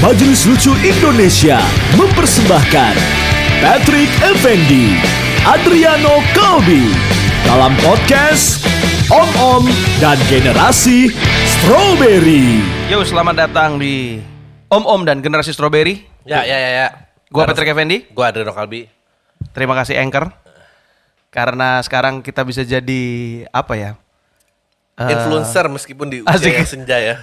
Majelis Lucu Indonesia mempersembahkan Patrick Effendi, Adriano Kalbi dalam podcast Om Om dan Generasi Strawberry. Yo, selamat datang di Om Om dan Generasi Strawberry. Ya, ya, ya, ya. Gua Patrick Effendi. Gua Adreno Kalbi. Terima kasih Anchor. Karena sekarang kita bisa jadi apa ya? Eh, Influencer meskipun di usia Asik. yang senja ya.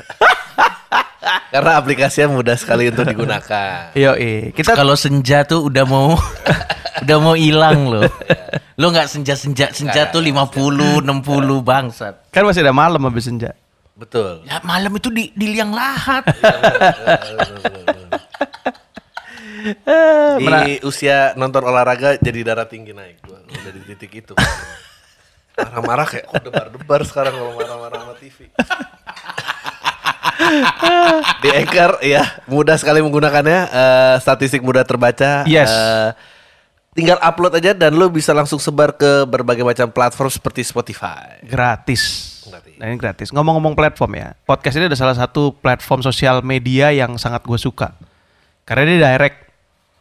Karena aplikasinya mudah sekali untuk digunakan. Yoi, kita kalau senja tuh udah mau udah mau hilang loh. Lo nggak senja-senja, senja tuh 50, 60 bangsat. kan masih ada malam habis senja. Betul. Ya malam itu di di liang lahat. Eh, mena- Di usia nonton olahraga jadi darah tinggi naik. Gua udah di titik itu. Marah-marah kayak kok debar-debar sekarang kalau marah-marah sama TV. di Anchor ya mudah sekali menggunakannya eh, statistik mudah terbaca Yes. Eh, tinggal upload aja dan lo bisa langsung sebar ke berbagai macam platform seperti Spotify gratis. Gratis. Nah, ini gratis. Ngomong-ngomong platform ya. Podcast ini ada salah satu platform sosial media yang sangat gue suka. Karena dia direct.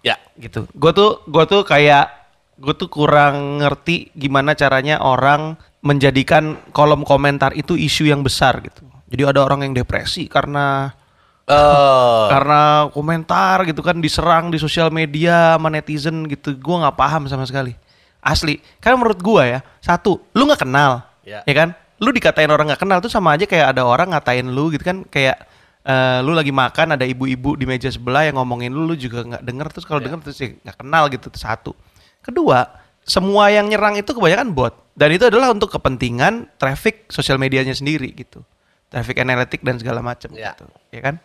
ya gitu. Gue tuh gue tuh kayak gue tuh kurang ngerti gimana caranya orang menjadikan kolom komentar itu isu yang besar gitu. Jadi ada orang yang depresi karena oh karena komentar gitu kan diserang di sosial media sama netizen gitu. Gue nggak paham sama sekali. Asli. Karena menurut gue ya satu lu nggak kenal Ya. ya kan. Lu dikatain orang nggak kenal tuh sama aja kayak ada orang ngatain lu gitu kan kayak eh, lu lagi makan ada ibu-ibu di meja sebelah yang ngomongin lu lu juga nggak denger terus kalau denger terus ya nggak kenal gitu Itu satu kedua semua yang nyerang itu kebanyakan bot dan itu adalah untuk kepentingan traffic sosial medianya sendiri gitu traffic analitik dan segala macam Ya. gitu ya kan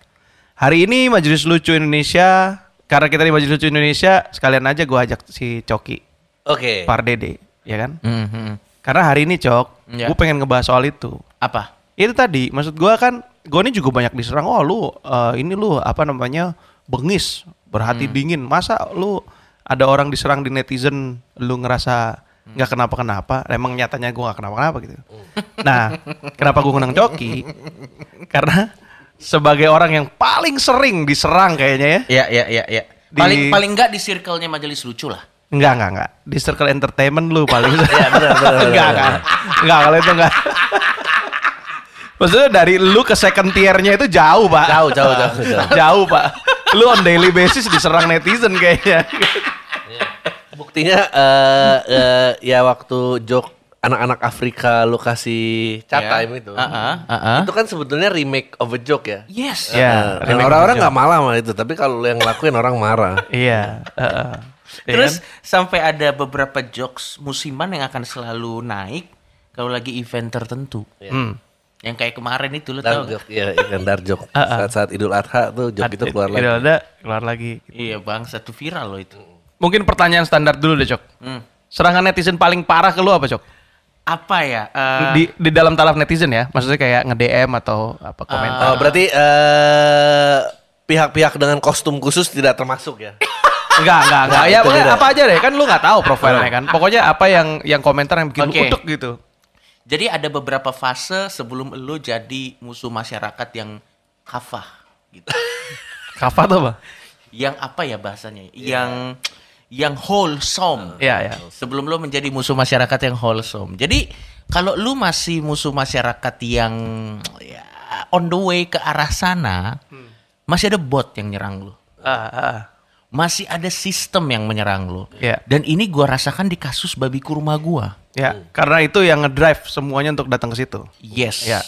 hari ini majelis lucu Indonesia karena kita di majelis lucu Indonesia sekalian aja gua ajak si Coki oke Pardede ya kan Mhm. karena hari ini Cok Ya. gue pengen ngebahas soal itu Apa? itu tadi maksud gua kan gua ini juga banyak diserang oh lu eh, ini lu apa namanya bengis berhati dingin masa lu ada orang diserang di netizen lu ngerasa nggak kenapa-kenapa emang nyatanya gua nggak kenapa-kenapa gitu nah kenapa gua ngundang Coki karena sebagai orang yang paling sering diserang kayaknya ya Ya, ya, ya, ya. Di- Paling paling nggak di circle-nya majelis lucu lah. Enggak, enggak, enggak. Di circle entertainment lu paling. Iya, benar, benar, benar, Enggak, enggak. benar. Enggak, kalau itu enggak. Maksudnya dari lu ke second tier-nya itu jauh, Pak. Jauh, jauh, jauh, jauh. Jauh, Pak. Lu on daily basis diserang netizen kayaknya. buktinya eh, eh, ya waktu jok anak-anak Afrika lu kasih cat Ya. time itu Ah, ah, ah, Iya. ah. itu kan sebetulnya remake of a joke ya Yes. Ya, Dan remake orang-orang of a nggak malah sama itu tapi kalau lu yang ngelakuin orang marah Iya, heeh. Iya Terus kan? sampai ada beberapa jokes musiman yang akan selalu naik kalau lagi event tertentu. Hmm. Yang kayak kemarin itu lo dark tau nggak? joke iya iya, dark joke Ah, saat-saat Idul Adha tuh kan? joke itu keluar Idul lagi Adha keluar lagi. Iya bang, satu viral lo itu. Mungkin pertanyaan standar dulu deh, Cok. Hmm. Serangan netizen paling parah ke lu apa, Cok? Apa ya? Ah. eh, Di, di dalam taraf netizen ya. Maksudnya kayak nge-DM atau apa komentar. Oh, berarti eh, pihak-pihak dengan kostum khusus tidak termasuk ya Enggak, enggak, enggak. Nah, Ya itu pokoknya beda. apa aja deh, kan lu nggak tahu profilnya kan. Pokoknya apa yang yang komentar yang bikin lu Oke. kutuk gitu. Jadi ada beberapa fase sebelum lo jadi musuh masyarakat yang kafah gitu. Kafa tuh, Bang. yang apa ya bahasanya? Yang yang wholesome. Iya, iya. Sebelum lo menjadi musuh masyarakat yang wholesome. Jadi kalau lu masih musuh masyarakat yang ya, on the way ke arah sana, Hmm. masih ada bot yang nyerang lo. Ah, ah. Masih ada sistem yang menyerang lo. Iya. Dan ini gua rasakan di kasus babi kurma gua. Ya, karena itu yang ngedrive semuanya untuk datang ke situ. Yes. Ya.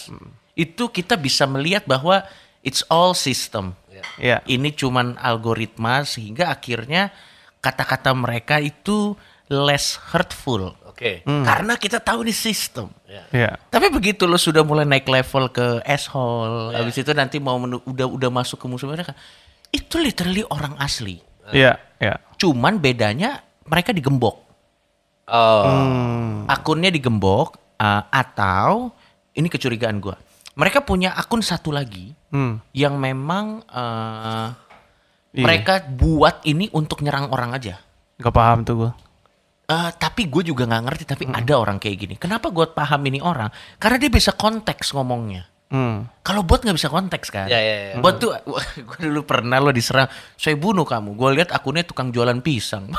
Itu kita bisa melihat bahwa it's all system. Ya, Iya. Ini cuman algoritma sehingga akhirnya kata-kata mereka itu less hurtful. oke Karena kita tahu ini sistem. Iya. Tapi begitu lo sudah mulai naik level ke asshole, habis itu nanti mau menu- udah udah masuk ke musuh mereka. Itu literally orang asli. Iya, iya. Cuman bedanya mereka digembok. oh Akunnya digembok uh, atau ini kecurigaan gua. Mereka punya akun satu lagi Hmm. yang memang uh, Iya. mereka buat ini untuk nyerang orang aja. Gak paham tuh gua. Eh, tapi gue Hmm. juga nggak ngerti tapi ada orang kayak gini. Kenapa gue paham ini orang? Karena dia bisa konteks ngomongnya. Hmm. Kalau bot nggak bisa konteks kan? Ya, ya, ya. Bot tuh, gue dulu pernah lo diserang, saya bunuh kamu. Gue lihat akunnya tukang jualan pisang.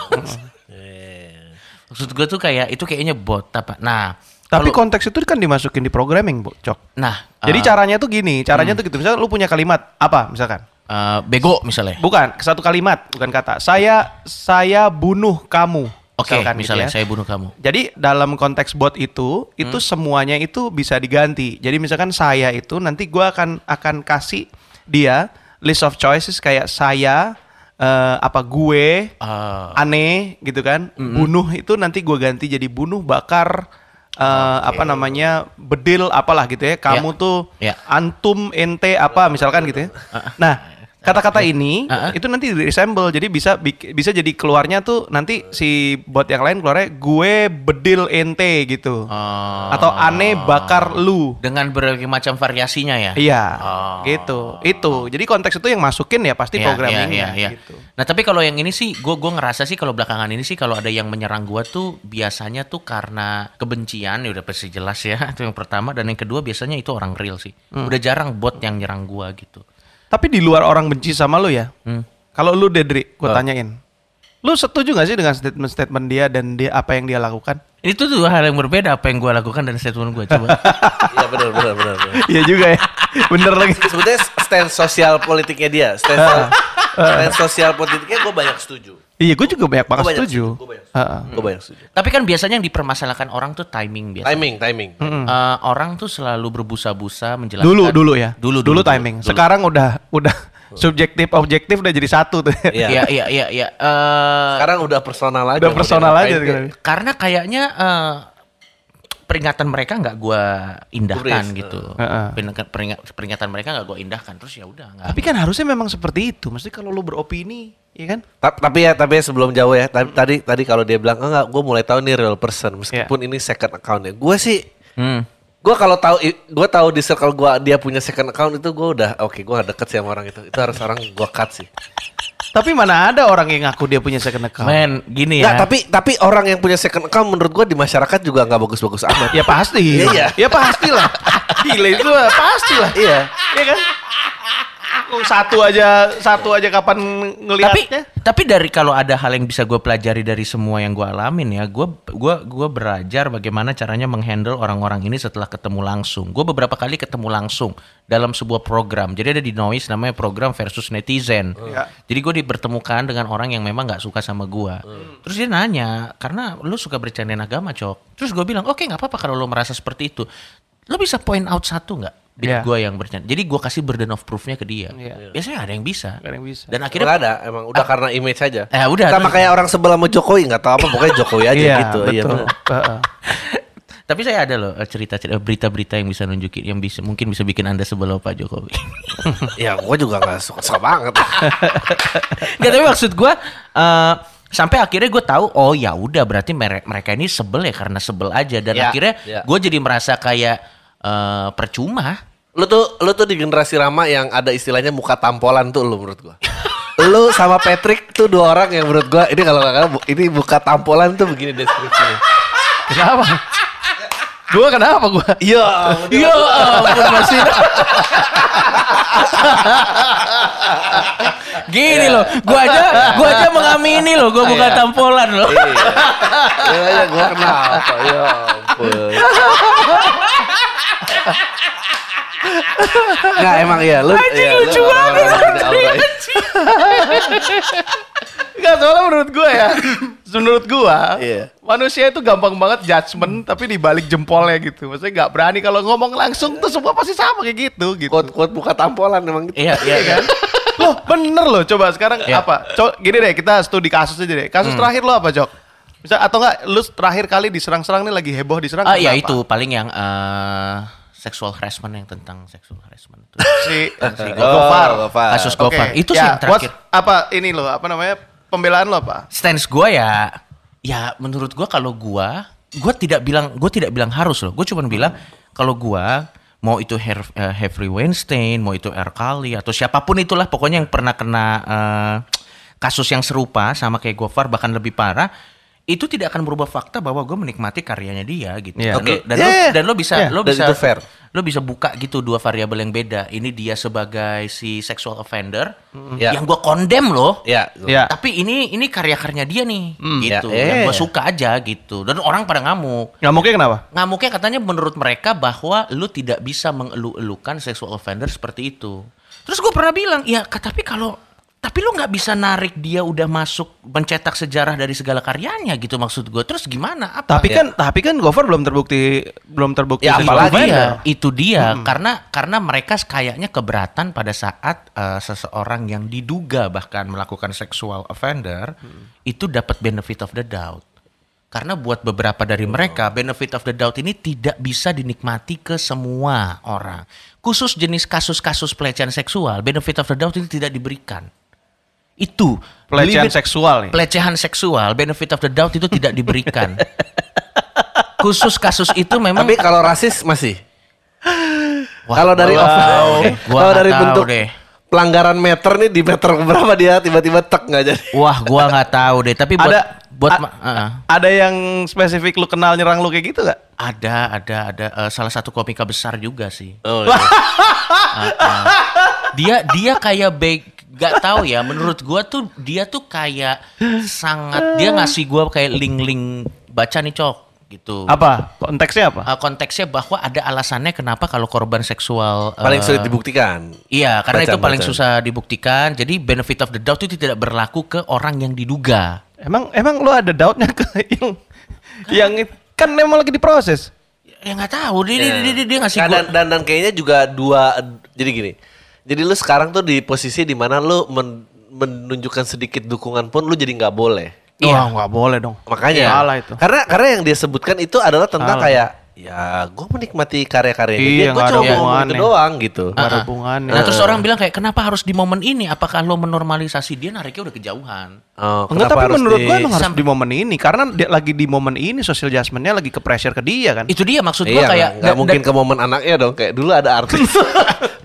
Maksud gue tuh kayak itu kayaknya bot apa? Nah, Tapi kalau- konteks itu kan dimasukin di programming, Bo, Cok. nah, Jadi eh, caranya tuh gini, caranya tuh gitu. Misalnya lu punya kalimat apa misalkan? eh, bego misalnya. Bukan, satu kalimat, bukan kata. Saya saya bunuh kamu. Oke, misalkan gitu misalnya ya. saya bunuh kamu. Jadi dalam konteks bot itu, itu semuanya itu bisa diganti. Jadi misalkan saya itu nanti gua akan akan kasih dia list of choices kayak saya eh, apa gue Eh, aneh gitu kan. Bunuh itu nanti gua ganti jadi bunuh bakar eh, apa namanya bedil apalah gitu ya. Kamu Ya. tuh Ya. antum ente apa misalkan gitu ya. Nah, kata-kata ini Ah, ah. itu nanti di resemble jadi bisa bik- bisa jadi keluarnya tuh nanti si bot yang lain keluarnya gue bedil ente gitu. Oh. Atau aneh bakar lu. dengan berbagai macam variasinya ya. Iya, Oh. gitu. Itu. Jadi konteks itu yang masukin ya pasti Iya, programming iya, iya, iya. gitu. Nah tapi kalau yang ini sih, gue gua ngerasa sih kalau belakangan ini sih kalau ada yang menyerang gue tuh biasanya tuh karena kebencian, ya udah pasti jelas ya itu yang pertama dan yang kedua biasanya itu orang real sih. Hmm. Udah jarang bot yang nyerang gue gitu. Tapi di luar orang benci sama lu ya. Hmm. Kalau lu Dedri, gue tanyain. Lu setuju gak sih dengan statement-statement dia dan dia apa yang dia lakukan? Itu tuh hal yang berbeda apa yang gue lakukan dan statement gue coba. Iya benar benar benar. benar. Iya juga ya. Bener lagi. Sebetulnya stance sosial politiknya dia, Ah. stance, stance sosial politiknya gue banyak setuju. Iya, gue juga banyak banget Gua banyak setuju. setuju, gua banyak Heeh. Gue banyak setuju. tapi kan biasanya yang dipermasalahkan orang tuh timing biasa. Timing, timing. Eh, orang tuh selalu berbusa-busa menjelaskan. Dulu dulu ya. Dulu dulu, timing. dulu. Sekarang udah udah subjektif objektif udah jadi satu tuh. Iya. Iya iya iya iya. Eh, Sekarang udah personal aja. udah mau personal diapain aja dia. sekarang. karena kayaknya eh, peringatan mereka nggak gua indahkan Kubris, gitu. Heeh. Peringat- peringat- peringatan mereka nggak gua indahkan terus ya udah nggak. Tapi kan harusnya memang seperti itu. Mesti kalau lu beropini, ya kan? Ta- tapi ya, tapi ya sebelum jauh ya. ta- Tadi tadi kalau dia bilang "Oh, enggak, gue mulai tahu nih real person meskipun ini second accountnya. Gue sih, Hmm. gue kalau tahu, gue tahu di circle gue dia punya second account itu gue udah oke, gue gak deket sih sama orang itu. Itu harus orang gue cut sih. Tapi mana ada orang yang ngaku dia punya second account? Men, gini Nggak, ya. tapi tapi orang yang punya second account menurut gue di masyarakat juga nggak bagus-bagus amat. Ya pasti. Iya, iya. Ya pastilah. Gila itu lah, pastilah. Iya. Iya kan? Lu Satu aja, satu aja kapan tapi ngelihatnya? tapi dari kalau ada hal yang bisa gue pelajari dari semua yang gue alamin ya gue gua gua belajar bagaimana caranya menghandle orang-orang ini setelah ketemu langsung gue beberapa kali ketemu langsung dalam sebuah program jadi ada di noise namanya program versus netizen Iya. jadi gue dipertemukan dengan orang yang memang nggak suka sama gue Hmm. terus dia nanya karena lu suka bercandain agama cok terus gue bilang oke nggak apa-apa kalau lu merasa seperti itu lu bisa point out satu nggak Iya. Biar gue yang bercanda jadi gue kasih burden of proofnya ke dia Iya. biasanya nggak ada yang bisa Nggak ada yang bisa. dan akhirnya Akhirnya ada, emang udah karena image aja. Eh, udah. Sama kayak orang sebelah sama Jokowi nggak tahu apa, pokoknya Jokowi aja gitu. Betul. Iya, bener. Heeh. Tapi saya ada loh eh, cerita-cerita berita-berita yang bisa nunjukin yang bisa mungkin bisa bikin Anda sebelah Pak Jokowi. ya gue juga nggak suka, suka banget. Gak tapi maksud gua eh, sampai akhirnya gue tahu oh ya udah berarti mere- mereka ini sebel ya karena sebel aja dan Ya, akhirnya ya. gue jadi merasa kayak eh, percuma. lu tuh lu tuh di generasi Rama yang ada istilahnya muka tampolan tuh lu menurut gue. lu sama Patrick tuh dua orang yang menurut gue ini kalau nggak salah bu- ini muka tampolan tuh begini deskripsinya. Kenapa? Gua kenapa gua? Iya. Yo, ampun, Mas Vino. Gini loh, gua aja gua aja mengamini loh, gua buka tampolan loh. Iya aja gue kenapa? Ya ampun. Nggak emang iya lu iya, lu lucu orang-orang yang ada aura itu. Enggak, soalnya menurut gua ya. menurut gua, Iya. manusia itu gampang banget judgement tapi dibalik jempolnya gitu. Maksudnya nggak berani kalau ngomong langsung tuh semua pasti sama kayak gitu gitu. Kuat-kuat muka tampolan emang gitu. Iya, iya kan? loh bener loh coba sekarang Ya. apa cok gini deh kita studi kasus aja deh Hmm. kasus terakhir lo apa cok bisa atau enggak lu terakhir kali diserang-serang nih lagi heboh diserang Ah ya kenapa? itu paling yang eh sexual harassment yang tentang sexual harassment itu. si, si Oh, Gofar Gofar. Kasus Oke, Gofar. Itu sih ya, yang terakhir. what's- apa ini lo apa namanya pembelaan lo apa Stance gua ya ya menurut gua kalau gua gua tidak bilang gua tidak bilang harus loh. Gua cuma bilang kalau gua mau itu Her- eh, Harvey Weinstein, mau itu R. Kelly atau siapapun itulah pokoknya yang pernah kena eh, kasus yang serupa sama kayak Gofar bahkan lebih parah itu tidak akan merubah fakta bahwa gue menikmati karyanya dia gitu. Iya. Dan lo- Oke. Dan, Yeah, lo, yeah. dan lo bisa Yeah, lo dan bisa itu fair. lo bisa buka gitu dua variabel yang beda. Ini dia sebagai si sexual offender Yeah. yang gue kondem loh. Ya. Ya. Tapi ini ini karya-karyanya dia nih gitu. Yeah. Yang gue Yeah. suka aja gitu. Dan orang pada ngamuk. Nggak mungkin kenapa? Ngamuknya katanya menurut mereka bahwa lu tidak bisa mengelu-elukan sexual offender seperti itu. Terus gue pernah bilang, ya ka- tapi kalau tapi lu nggak bisa narik dia udah masuk mencetak sejarah dari segala karyanya gitu maksud gue. Terus gimana? Apa? Tapi kan tapi kan Gofar belum terbukti belum terbukti Ya, sexual apalagi offender. Iya, itu dia karena karena mereka kayaknya keberatan pada saat eh, seseorang yang diduga bahkan melakukan sexual offender itu dapat benefit of the doubt. Karena buat beberapa dari mereka benefit of the doubt ini tidak bisa dinikmati ke semua orang. Khusus jenis kasus-kasus pelecehan seksual, benefit of the doubt ini tidak diberikan. Itu Pelecehan limit- seksual nih. pelecehan seksual, benefit of the doubt itu tidak diberikan. Khusus kasus itu memang Tapi kalau rasis masih. Kalau dari wow. off- Gua kalau nggak dari tahu bentuk deh. pelanggaran meter nih di meter berapa dia tiba-tiba tek nggak jadi. Wah, gua nggak tahu deh. Tapi buat ada buat a- ma- eh, ada yang spesifik lu kenal nyerang lu kayak gitu gak? ada ada ada eh, salah satu komika besar juga sih. Oh, iya. Dia dia kayak baik nggak tahu ya. Menurut gua tuh dia tuh kayak sangat dia ngasih gua kayak link-link baca nih cok gitu. Apa? Konteksnya apa? Eh, konteksnya bahwa ada alasannya kenapa kalau korban seksual eh, Paling sulit dibuktikan. Iya, karena itu Bacaan-bacaan. paling susah dibuktikan. Jadi benefit of the doubt itu tidak berlaku ke orang yang diduga. Emang emang lu ada doubtnya ke Kan- yang yang kan memang lagi diproses. Ya nggak tahu, dia, dia, dia, dia, dia ngasih Nah, gua- dan, dan dan kayaknya juga dua jadi gini. Jadi lu sekarang tuh di posisi di mana lu men- menunjukkan sedikit dukungan pun lu jadi nggak boleh. Iya. nggak boleh dong. Makanya. Salah itu. Karena karena yang dia sebutkan itu adalah tentang kayak ya gue menikmati karya-karya dia, Iya, gue nggak ada cuma mau ngomong hubungannya. itu doang gitu. Nggak ada Ah, ah. hubungannya. Nah, terus orang bilang kayak kenapa harus di momen ini? Apakah lo menormalisasi dia nariknya udah kejauhan? Oh, Enggak, kenapa tapi harus menurut di- gua emang harus Sam- di momen ini karena dia lagi di momen ini social judgment-nya lagi ke pressure ke dia kan. Itu dia maksud Iya, gua kayak nggak mungkin ke momen anaknya dong. Kayak dulu ada artis.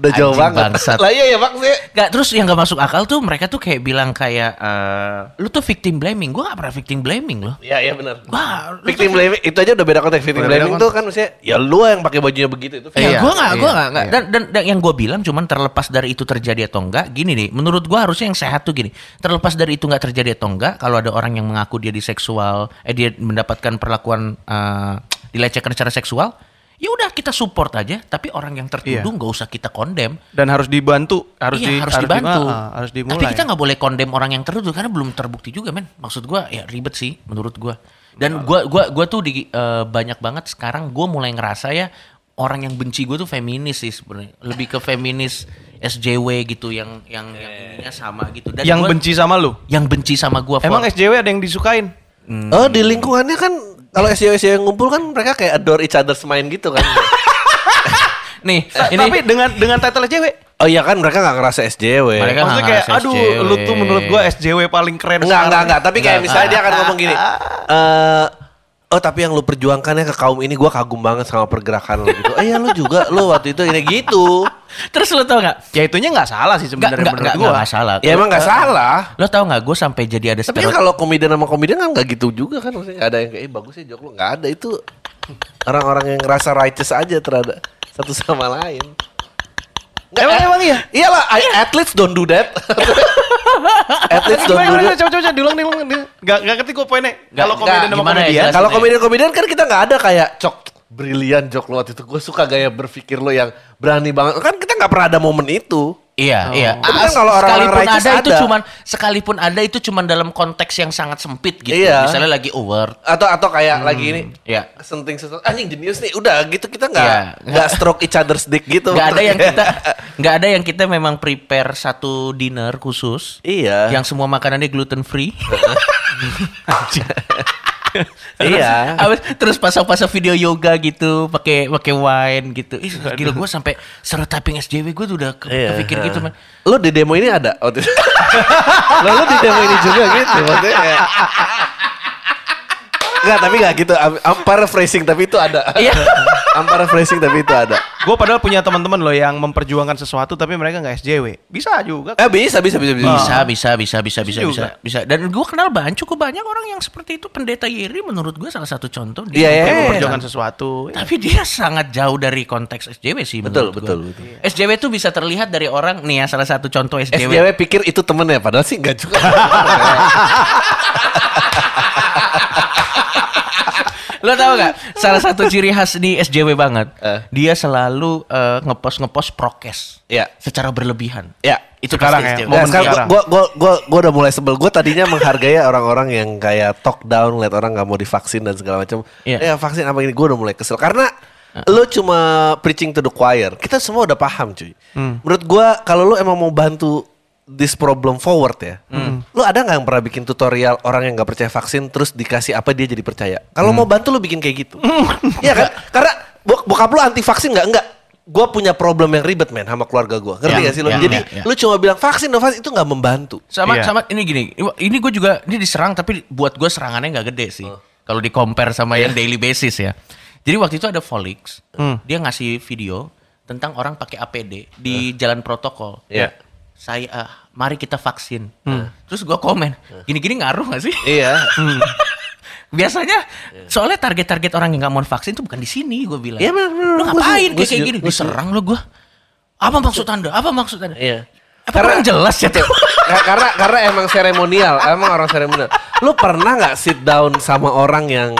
Udah jauh Anjing banget. bangsat. Lah iya ya maksudnya. Gak, terus yang gak masuk akal tuh mereka tuh kayak bilang kayak eh, lu tuh victim blaming. Gua gak pernah victim blaming loh. Iya iya benar. Wah, lu Victim blaming itu aja udah beda konteks. Victim Udah beda blaming tuh kan maksudnya ya lu yang pakai bajunya begitu itu. Ya, Iya, gua nggak, gua iya, nggak, nggak. iya. Dan, dan, dan yang gua bilang cuman terlepas dari itu terjadi atau enggak, gini nih. Menurut gua harusnya yang sehat tuh gini. Terlepas dari itu nggak terjadi atau enggak, kalau ada orang yang mengaku dia di seksual, eh dia mendapatkan perlakuan eh, dilecehkan secara seksual, ya udah kita support aja. Tapi orang yang Iya. tertuduh nggak usah kita kondem. Dan harus dibantu, harus Iya, di harus dibantu. di- ah, harus dimulai. Tapi kita nggak boleh kondem orang yang tertuduh karena belum terbukti juga, men. Maksud gua ya ribet sih menurut gua. Iya. Dan gua gua gua tuh di eh, banyak banget sekarang gua mulai ngerasa ya orang yang benci gua tuh feminis sih sebenarnya. Lebih ke feminis SJW gitu yang yang yang ininya sama gitu. Dan yang gua- benci sama lu. yang benci sama gua Fon. Emang SJW ada yang disukain? Eh, Oh di lingkungannya kan kalau SEO SEO yang ngumpul kan mereka kayak adore each other's main gitu kan. nih Ta- ini Tapi dengan dengan title SJW. oh iya kan mereka nggak ngerasa SJW. Mereka kan nggak Maksudnya kayak ngerasa aduh SJW. lu tuh menurut gua SJW paling keren Enggak, enggak, sekarang." enggak. Tapi kayak misalnya dia akan ngomong gini. eh oh tapi yang lu perjuangkan ya ke kaum ini gue kagum banget sama pergerakan lu gitu. Eh ya lu juga, lu waktu itu ini gitu. terus lo tau nggak? Ya itunya nggak salah sih Nggak sebenarnya nggak menurut nggak gua. nggak salah. Eh, Ya emang gak salah. Lo tau nggak gue sampai jadi ada Tapi kan kalau komedian sama komedian kan gak gitu juga kan. Maksudnya nggak ada yang kayak, eh bagus ya jok lu. Gak ada itu. Orang-orang yang ngerasa righteous aja terhadap satu sama lain. Nggak, Emang- eh, emang iya? Iyalah, I- athletes don't do that. athletes don't Gimana, do gimana, that. coba, coba, coba, diulang, diulang, diulang. Gak, gak ngerti gue poinnya. Kalau nggak, komedian sama gimana ya, komedian. jelasin. Kalau komedian-komedian kan kita nggak ada kayak cok brilian jok lo waktu itu. Gue suka gaya berpikir lo yang berani banget. Kan kita nggak pernah ada momen itu. Iya, iya. Tapi Ah, kan kalau orang-orang sekalipun righteous ada, itu ada. cuman sekalipun ada itu cuman dalam konteks yang sangat sempit gitu. Iya. Misalnya lagi over. Atau atau kayak lagi ini Iya. senting sesuatu anjing jenius nih udah gitu kita nggak Iya. nggak stroke each other's dick gitu Gak ada yang kita nggak ada yang kita memang prepare satu dinner khusus. iya Yang semua makanannya gluten free. iya Abis, terus pasang-pasang video yoga gitu, pakai pakai wine gitu. Ih, gila gue sampai seru typing SJW gue tuh udah ke, Iya. kepikir gitu, man. Lo di demo ini ada Oh, waktu itu. Lo lo di demo ini juga gitu maksudnya kayak Enggak, tapi enggak gitu. I'm, I'm paraphrasing tapi itu ada. Iya. Tanpa refreshing tapi itu ada. Gue padahal punya teman-teman loh yang memperjuangkan sesuatu tapi mereka nggak SJW. Bisa juga. Eh bisa bisa bisa bisa. bisa bisa bisa bisa bisa bisa juga. bisa dan gue kenal banyak cukup banyak orang yang seperti itu pendeta Yeri menurut gue salah satu contoh Iya, juga iya, iya. memperjuangkan Memperjuangkan sesuatu. sesuatu. Ya. tapi dia sangat jauh dari konteks SJW sih Betul, menurut gua. Iya. betul, betul. SJW itu bisa terlihat dari orang nih ya salah satu contoh SJW, SJW pikir itu temennya padahal sih enggak juga. lo tau gak salah satu ciri khas di SJW banget Eh. dia selalu eh, ngepost ngepost prokes Iya. secara berlebihan ya. itu Sekarang ya, pasti SJW. momen Nah, sekarang sekarang. gua, gua, gua, gua udah mulai sebel. Gua tadinya menghargai orang-orang yang kayak talk down, lihat orang nggak mau divaksin dan segala macam. Iya. Ya vaksin apa ini? Gua udah mulai kesel karena lu cuma preaching to the choir. Kita semua udah paham, cuy. Menurut gua kalau lu emang mau bantu this problem forward ya. Lu ada nggak yang pernah bikin tutorial orang yang nggak percaya vaksin terus dikasih apa dia jadi percaya? Kalau mau bantu lu bikin kayak gitu. Iya kan? Karena bok- bokap lu anti vaksin nggak enggak? Gue punya problem yang ribet men sama keluarga gua Ngerti Iya, gak sih lu? iya, Jadi iya, iya. lu cuma bilang vaksin dong vaksin itu nggak membantu. sama Iya. sama ini gini ini gue juga ini diserang tapi buat gue serangannya nggak gede Oh. sih kalau di compare sama Iya. yang daily basis ya jadi waktu itu ada Volix Hmm. dia ngasih video tentang orang pakai APD di jalan protokol Iya. Hmm. saya ah, mari kita vaksin terus gue komen gini-gini ngaruh gak sih Iya. biasanya soalnya target-target orang yang nggak mau vaksin tuh bukan di sini gue bilang Iya, bener, bener. lu Gua setuju, ngapain gua kayak kayak setuju, gini gua setuju. diserang lo gue apa maksud anda apa maksud anda Iya. apa kurang jelas ya tuh Ka- karena karena emang seremonial, emang orang seremonial. Lu pernah nggak sit down sama orang yang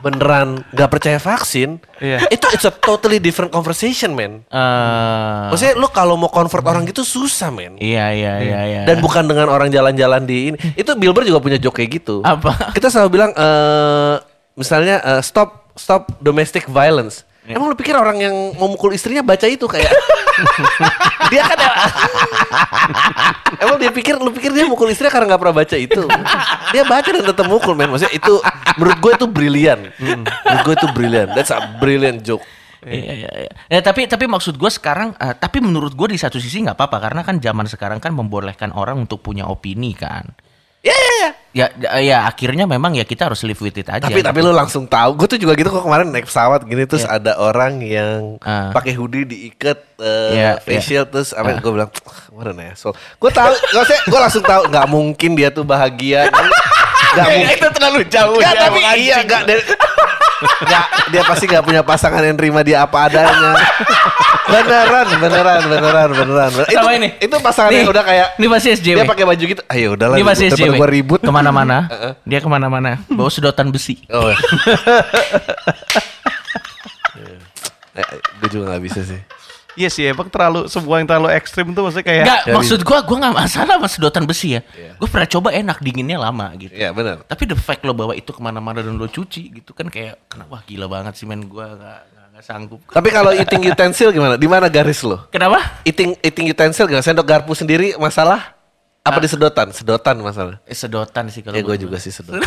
beneran nggak percaya vaksin? Iya. Itu it's a totally different conversation, man. Eh, Maksudnya lu kalau mau convert orang gitu susah, men. Iya iya iya iya. Dan bukan dengan orang jalan-jalan di ini. Itu Bilber juga punya joke kayak gitu. Apa? Kita selalu bilang eh misalnya eh, stop stop domestic violence. Emang lu pikir orang yang mau mukul istrinya baca itu kayak dia kan emang dia pikir lu pikir dia mukul istrinya karena nggak pernah baca itu dia baca dan tetap mukul men maksudnya itu menurut gue itu brilian menurut gue itu brilian that's a brilliant joke Iya iya iya. Ya, tapi tapi maksud gue sekarang eh, tapi menurut gue di satu sisi nggak apa-apa karena kan zaman sekarang kan membolehkan orang untuk punya opini kan. ya ya ya Ya ya, ya, akhirnya memang ya kita harus live with it aja. Tapi tapi lu langsung tahu. Gue tuh juga gitu kok kemarin naik pesawat gini terus ada orang yang Iya. Ah. pakai hoodie diikat eh, Iya, facial terus apa gue bilang mana nih so gue tahu maksudnya gue langsung tahu nggak mungkin dia tuh bahagia nggak mungkin Iya, itu terlalu jauh. Nggak, tapi iya nggak dia, nggak, dia pasti nggak punya pasangan yang terima dia apa adanya beneran beneran beneran beneran beneran. Sama ini. itu pasangan yang Nih, udah kayak ini pasti SJW. dia pakai baju gitu ayo udahlah Ini masih SJW. gue ribut Kemana-mana. Dia kemana-mana. Bawa sedotan besi. Oh. gue Iya. Eh, juga gak bisa sih. Iya sih, emang terlalu sebuah yang terlalu ekstrim tuh maksudnya kayak. Enggak, Iya, jadi- maksud gua gua nggak masalah sama sedotan besi ya. Iya. Gua pernah coba enak dinginnya lama gitu. Iya benar. Tapi the fact lo bawa itu kemana-mana dan lo cuci gitu kan kayak kenapa gila banget sih men gue gak, gak, gak sanggup. Tapi kalau eating utensil gimana? Di mana garis lo? Kenapa? Eating eating utensil gimana? Sendok garpu sendiri masalah? Apa di sedotan? Sedotan masalah. Eh, Ah. sedotan sih kalau Ya gue menurut juga gua. sih sedotan.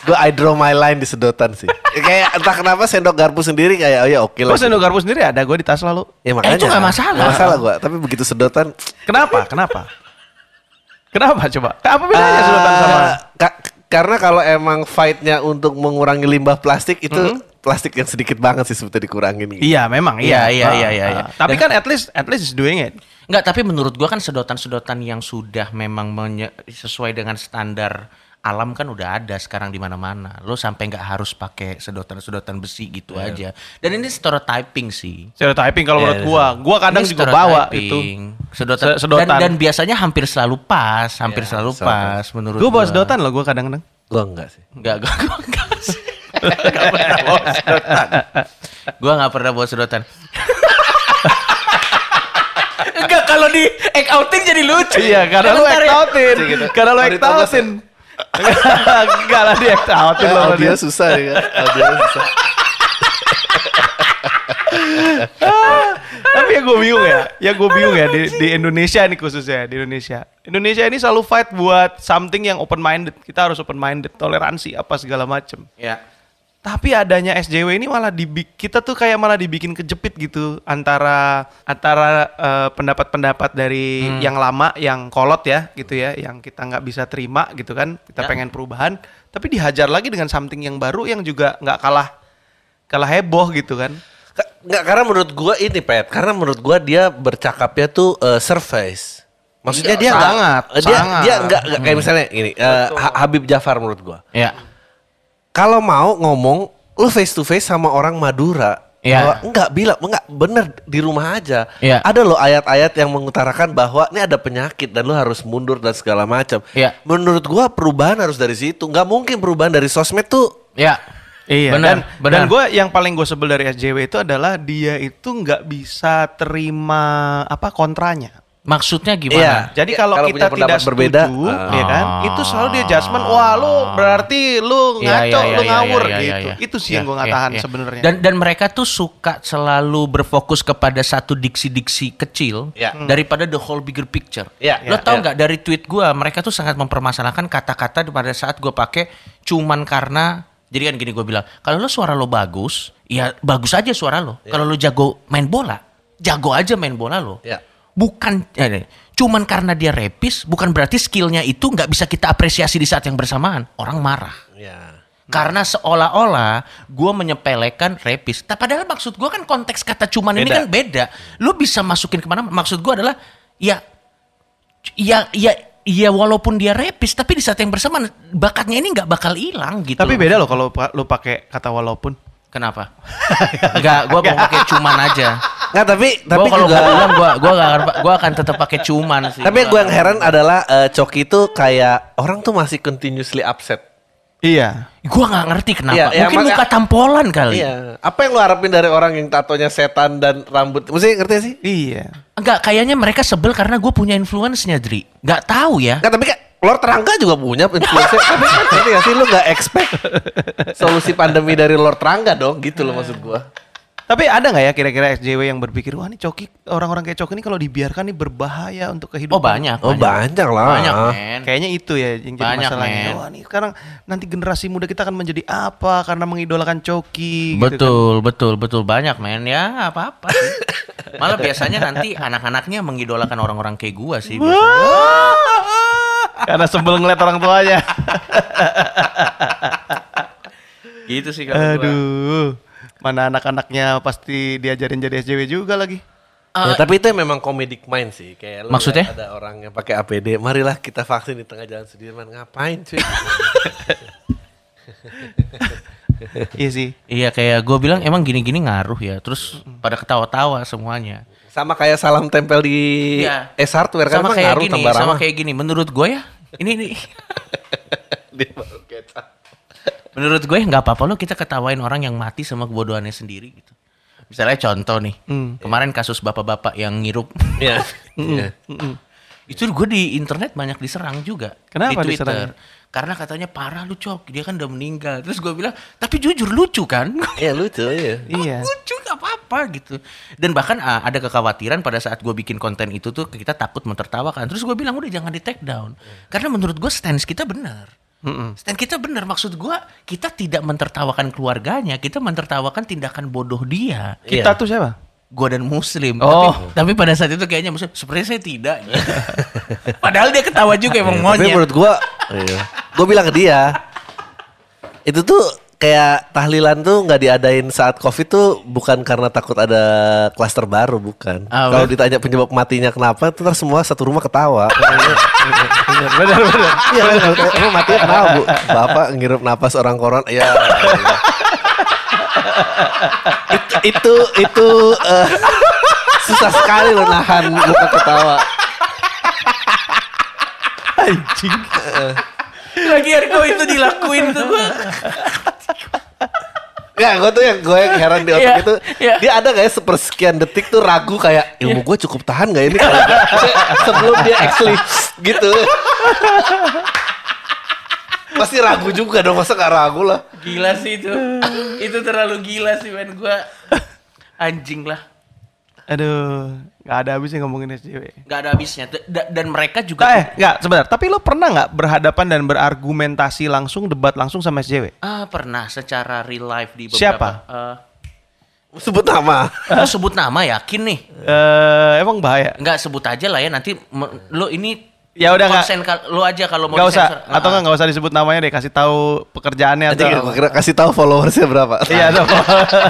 gue I draw my line di sedotan sih. Ya, Kayak entah kenapa sendok garpu sendiri kayak oh ya oke lah. Terus sendok garpu sendiri ada gue di tas lalu. Ya Eh, itu nggak masalah. Nggak masalah gue. Tapi begitu sedotan. Kenapa? Kenapa? Kenapa coba? Apa Eh. bedanya sedotan sama? Ah, ka- karena kalau emang fightnya untuk mengurangi limbah plastik itu plastik yang sedikit banget sih sebetulnya dikurangin. gitu. Iya, memang Ah, Iya, iya, iya, iya, ah. iya. Tapi kan Dan- at least at least is doing it. Enggak, tapi menurut gua kan sedotan-sedotan yang sudah memang menye- sesuai dengan standar alam kan udah ada sekarang di mana-mana. Lo sampai nggak harus pakai sedotan-sedotan besi gitu Iya. aja. Dan ini stereotyping sih. Stereotyping kalau menurut Iya, gua, gua kadang Ini juga bawa gitu. stereotyping. itu. Sedotan, Se- sedotan. Dan, dan biasanya hampir selalu pas, hampir selalu selalu pas menurut Iya, Gua bawa gua. sedotan loh gua kadang-kadang. Gua enggak sih. Enggak, gua gua enggak sih. Enggak pernah bawa sedotan. Gua enggak pernah bawa sedotan. Enggak kalau di act outing jadi lucu. Iya, karena lu Ntar act ya. outin. gitu. Karena lu act outin. Enggak lah dia act outin ya? Eh, loh audio dia. susah ya kan. Audio susah. Tapi yang gue bingung ya, yang gue bingung ya di, di Indonesia nih khususnya di Indonesia. Indonesia ini selalu fight Ya. buat something yang open minded. Kita harus open minded, toleransi apa segala macem. Iya. Tapi adanya SJW ini malah dibik kita tuh kayak malah dibikin kejepit gitu antara antara eh, pendapat-pendapat dari Hmm. yang lama yang kolot ya gitu ya yang kita nggak bisa terima gitu kan Ya. kita pengen perubahan tapi dihajar lagi dengan something yang baru yang juga nggak kalah kalah heboh gitu kan Ka- Nggak, karena menurut gua ini Pet, karena menurut gua dia bercakapnya tuh eh, surface. Maksudnya Iya, dia nggak- sangat, eh, dia sangat. dia nggak nggak kayak misalnya gini, eh, Ha- Habib Jafar menurut gua. Ya. Kalau mau ngomong lu face to face sama orang Madura. Iya. Bahwa Enggak bilang, enggak bener di rumah aja. Iya. Ada loh ayat-ayat yang mengutarakan bahwa ini ada penyakit dan lu harus mundur dan segala macam. Iya. Menurut gua perubahan harus dari situ. Nggak mungkin perubahan dari sosmed tuh Ya. Iya. Benar, dan, benar. dan gue yang paling gue sebel dari SJW itu adalah dia itu nggak bisa terima apa kontranya. Maksudnya Iya. gimana? Jadi Ya, kalau kalau kita punya pendapat tidak berbeda, berbeda, setuju, ah. ya kan? Itu selalu dia judgement, wah lu berarti lu Iya, ngaco, iya, lu iya, ngawur iya, iya, gitu. iya. Itu sih Iya, yang gue nggak iya, tahan iya. sebenarnya. Dan dan mereka tuh suka selalu berfokus kepada satu diksi-diksi kecil Iya. Ya. daripada the whole bigger picture. Ya, Lo ya, tau ya. nggak dari tweet gua mereka tuh sangat mempermasalahkan kata-kata pada saat gua pakai cuman karena jadi kan gini gua bilang kalau lo suara lo bagus, ya bagus aja suara lo. Iya. Kalau lo jago main bola, jago aja main bola lo. Iya. Ya. Bukan eh, cuman karena dia repis, bukan berarti skillnya itu nggak bisa kita apresiasi di saat yang bersamaan. Orang marah. ya. Karena seolah-olah gue menyepelekan repis. Ta- Padahal maksud gue kan konteks kata cuman ini Beda. kan beda. Lu bisa masukin kemana? Maksud gue adalah ya, ya, ya, ya walaupun dia repis, tapi di saat yang bersamaan bakatnya ini nggak bakal hilang gitu. Tapi loh. beda loh kalau pa- lu pakai kata walaupun. Kenapa? Enggak, gue mau pakai cuman aja. Nggak, tapi tapi Tapi kalau juga gua bilang gue gua nggak akan gua akan tetap pakai cuman sih. Tapi gue yang heran adalah eh, Coki itu kayak orang tuh masih continuously upset. Iya. Gue nggak ngerti kenapa. Iya, iya, Mungkin makanya- muka tampolan kali. Iya. Apa yang lo harapin dari orang yang tatonya setan dan rambut? Mesti ngerti sih? Iya. Enggak, kayaknya mereka sebel karena gue punya influence-nya, Dri. Nggak tahu ya. Nggak, tapi kan Lord Rangga juga punya influencer. tapi kan ngerti nggak sih lu nggak expect solusi pandemi dari Lord Rangga dong gitu loh maksud gue. Tapi ada nggak ya kira-kira SJW yang berpikir wah ini coki orang-orang kayak coki ini kalau dibiarkan ini berbahaya untuk kehidupan. Oh banyak. Oh banyak Ah. lah. Eh, Banyak men. Kayaknya itu ya yang jadi Banyak, masalahnya. men. Wah, nih sekarang nanti generasi muda kita akan menjadi apa karena mengidolakan coki gitu kan. Betul, betul, betul banyak men ya apa-apa. sih. Malah biasanya nanti anak-anaknya mengidolakan orang-orang kayak gua sih. biasanya. Karena sebel ngeliat orang tuanya. Gitu sih kalau gua. Aduh. Mana anak-anaknya pasti diajarin jadi SJW juga lagi. Ya, tapi itu memang comedic mind sih kayak lu Eh, Maksudnya? lihat ada orang yang pakai APD marilah kita vaksin di tengah jalan Sudirman ngapain cuy iya sih. Iya kayak gua bilang emang gini-gini ngaruh ya. Terus pada ketawa-tawa semuanya. sama kayak salam tempel di Iya. S hardware kan sama emang kayak ngaruh gini, tambah sama ramah. kayak gini. Menurut gua ya, ini ini Dia baru kecap. menurut gue ya nggak apa-apa lo kita ketawain orang yang mati sama kebodohannya sendiri gitu. Misalnya contoh nih, kemarin kasus bapak-bapak yang ngirup Iya. Iya. Itu gue di internet banyak diserang juga. Kenapa di Twitter. diserang? Karena katanya parah lu cok, dia kan udah meninggal. Terus gue bilang, tapi jujur lucu kan? Iya lucu ya. Iya. lucu gak apa-apa gitu. Dan bahkan ah, ada kekhawatiran pada saat gue bikin konten itu tuh kita takut mentertawakan. Terus gue bilang udah jangan di take down. Karena menurut gue stance kita benar. Stand kita benar maksud gue kita tidak mentertawakan keluarganya, kita mentertawakan tindakan bodoh dia Iya. Kita tuh siapa? gue dan muslim Oh. tapi, tapi pada saat itu kayaknya muslim sepertinya saya tidak padahal dia ketawa juga Iya, emang Tapi monyet menurut gua, Iya. gua bilang ke dia, itu tuh kayak tahlilan tuh nggak diadain saat covid tuh bukan karena takut ada klaster baru bukan. Ah, Kalau bener. ditanya penyebab matinya kenapa, tuh ntar semua satu rumah ketawa. Benar, benar, benar. Iya, bener. emang matinya kenapa bu? Bapak ngirup napas orang koron, ya. itu itu, itu eh, susah sekali loh nahan muka ketawa. Anjing. lagi kok itu dilakuin tuh gua. Ya, gue tuh yang gue yang heran di otak Iya, itu, iya. dia ada kayak sepersekian detik tuh ragu kayak ilmu gue cukup tahan gak ini kalau gua-" sebelum dia actually gitu. Pasti ragu juga dong, masa gak ragu lah. gila sih itu itu terlalu gila sih men gue anjing lah Aduh, nggak ada habisnya ngomongin SJW. Gak ada habisnya. D- da- Dan mereka juga Nah, eh, nggak sebentar. Tapi lo pernah nggak berhadapan dan berargumentasi langsung, debat langsung sama SJW? ah pernah secara real life di beberapa. Siapa? eh, Sebut nama. lu sebut nama yakin nih. Eh, emang bahaya. Nggak sebut aja lah ya nanti me- lo ini Ya udah, nggak- konsen kal- lo aja kalau mau Nggak usah, disensor. atau Ah, nggak nggak usah disebut namanya deh. Kasih tahu pekerjaannya atau Nanti gue Iya, kira kasih tahu followersnya berapa. Iya, ada apa?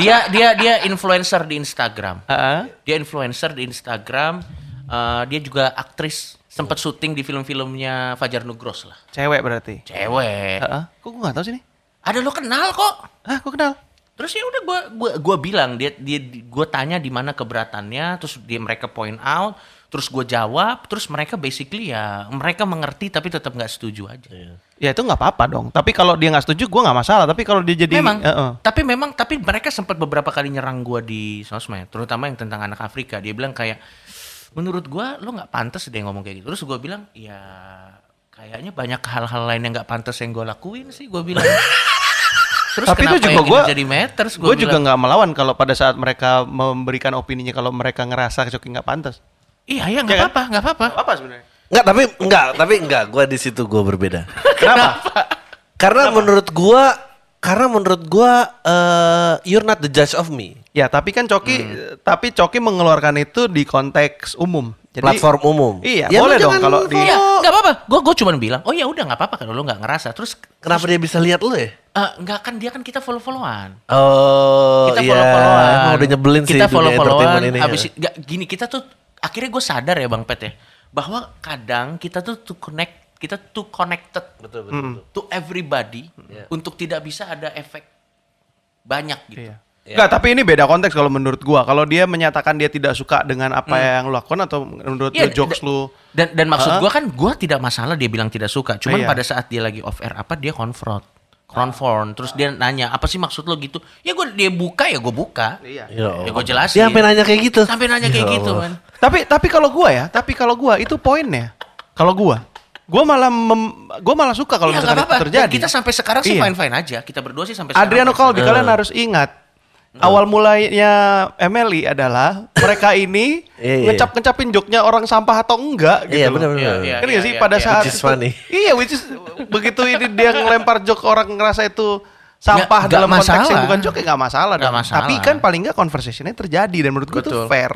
dia dia dia influencer di Instagram. Heeh. Dia influencer di Instagram. Eh, dia juga aktris sempat syuting di film-filmnya Fajar Nugros lah. Cewek berarti. Cewek. Heeh. Kok gue nggak tahu sih nih? Ada lo kenal kok. Ah, gue kenal. Terus ya udah gua gua gua bilang dia dia di- gua tanya di mana keberatannya, terus dia mereka point out, terus gua jawab, terus mereka basically ya mereka mengerti tapi tetap nggak setuju aja. Ya itu nggak apa-apa dong. Tapi kalau dia nggak setuju, gue nggak masalah. Tapi kalau dia jadi, memang, Heeh. tapi memang tapi mereka sempat beberapa kali nyerang gua di sosmed, terutama yang tentang anak Afrika. Dia bilang kayak menurut gua lo nggak pantas deh ngomong kayak gitu. Terus gua bilang ya kayaknya banyak hal-hal lain yang nggak pantas yang gua lakuin sih gua bilang. Terus Tapi itu kenapa juga yang ini gua- jadi matters gue juga bilang, nggak melawan kalau pada saat mereka memberikan opininya kalau mereka ngerasa Coki nggak pantas. Iya, iya Ya nggak kan? apa-apa, nggak apa-apa. Apa sebenarnya? Enggak, tapi enggak, tapi enggak. Gue di situ gue berbeda. Kenapa? Karena menurut gue, karena menurut gue, eh, you're not the judge of me. ya tapi kan Coki, Hmm. tapi Coki mengeluarkan itu di konteks umum. Jadi, Platform umum. Iya, Ya, boleh lu dong jangan kalau di. Iya, nggak apa-apa. Gue gue cuman bilang, oh ya udah nggak apa-apa kalau lo nggak ngerasa. Terus Kenapa dia bisa lihat lu ya? eh, nggak kan dia kan kita follow-followan. Oh, Kita iya. follow-followan. Emang udah nyebelin sih kita dunia entertainment ini. ya. Abis nggak, gini kita tuh akhirnya gue sadar ya Bang Pet ya, bahwa kadang kita tuh too connect, kita too connected Betul, betul, betul. Iya. to everybody untuk tidak bisa ada efek banyak gitu. Iya. Nggak, tapi ini beda konteks kalau menurut gua. Kalau dia menyatakan dia tidak suka dengan apa yang lu lakukan atau menurut Hmm. Iya, lu jokes da- lu Dan dan maksud Hah? gua kan gua tidak masalah dia bilang tidak suka. Cuman Iya. pada saat dia lagi off air apa dia konfront. Konfront terus dia nanya, "Apa sih maksud lo gitu?" Ya gua dia buka ya gua buka. Iya. Ya Ya Allah. gua jelasin. Dia sampai nanya kayak gitu. Sampai nanya kayak Ya gitu, Allah. man. Tapi tapi kalau gua ya, tapi kalau gua itu poinnya. Kalau gua, gua malah mem, gua malah suka kalau Iya, nggak misalkan apa-apa. itu terjadi. Dan Kita sampai sekarang sih Iya. fine-fine aja. Kita berdua sih sampai Adriano Iya, sekarang. Kalbi, Eh. kalian harus ingat. Awal mulainya Emily adalah mereka ini Iya, iya. ngecap-ngecapin joknya orang sampah atau enggak gitu. Iya, loh. benar-benar. Iya, iya. Kan nggak sih pada iya. saat Which is itu- funny. Iya, which is begitu ini dia ngelempar jok orang ngerasa itu sampah Nggak- nggak dalam konteks yang masalah. bukan jok ya nggak masalah, Nggak dong. masalah. Tapi kan paling nggak conversationnya terjadi dan menurut gue itu Betul. fair.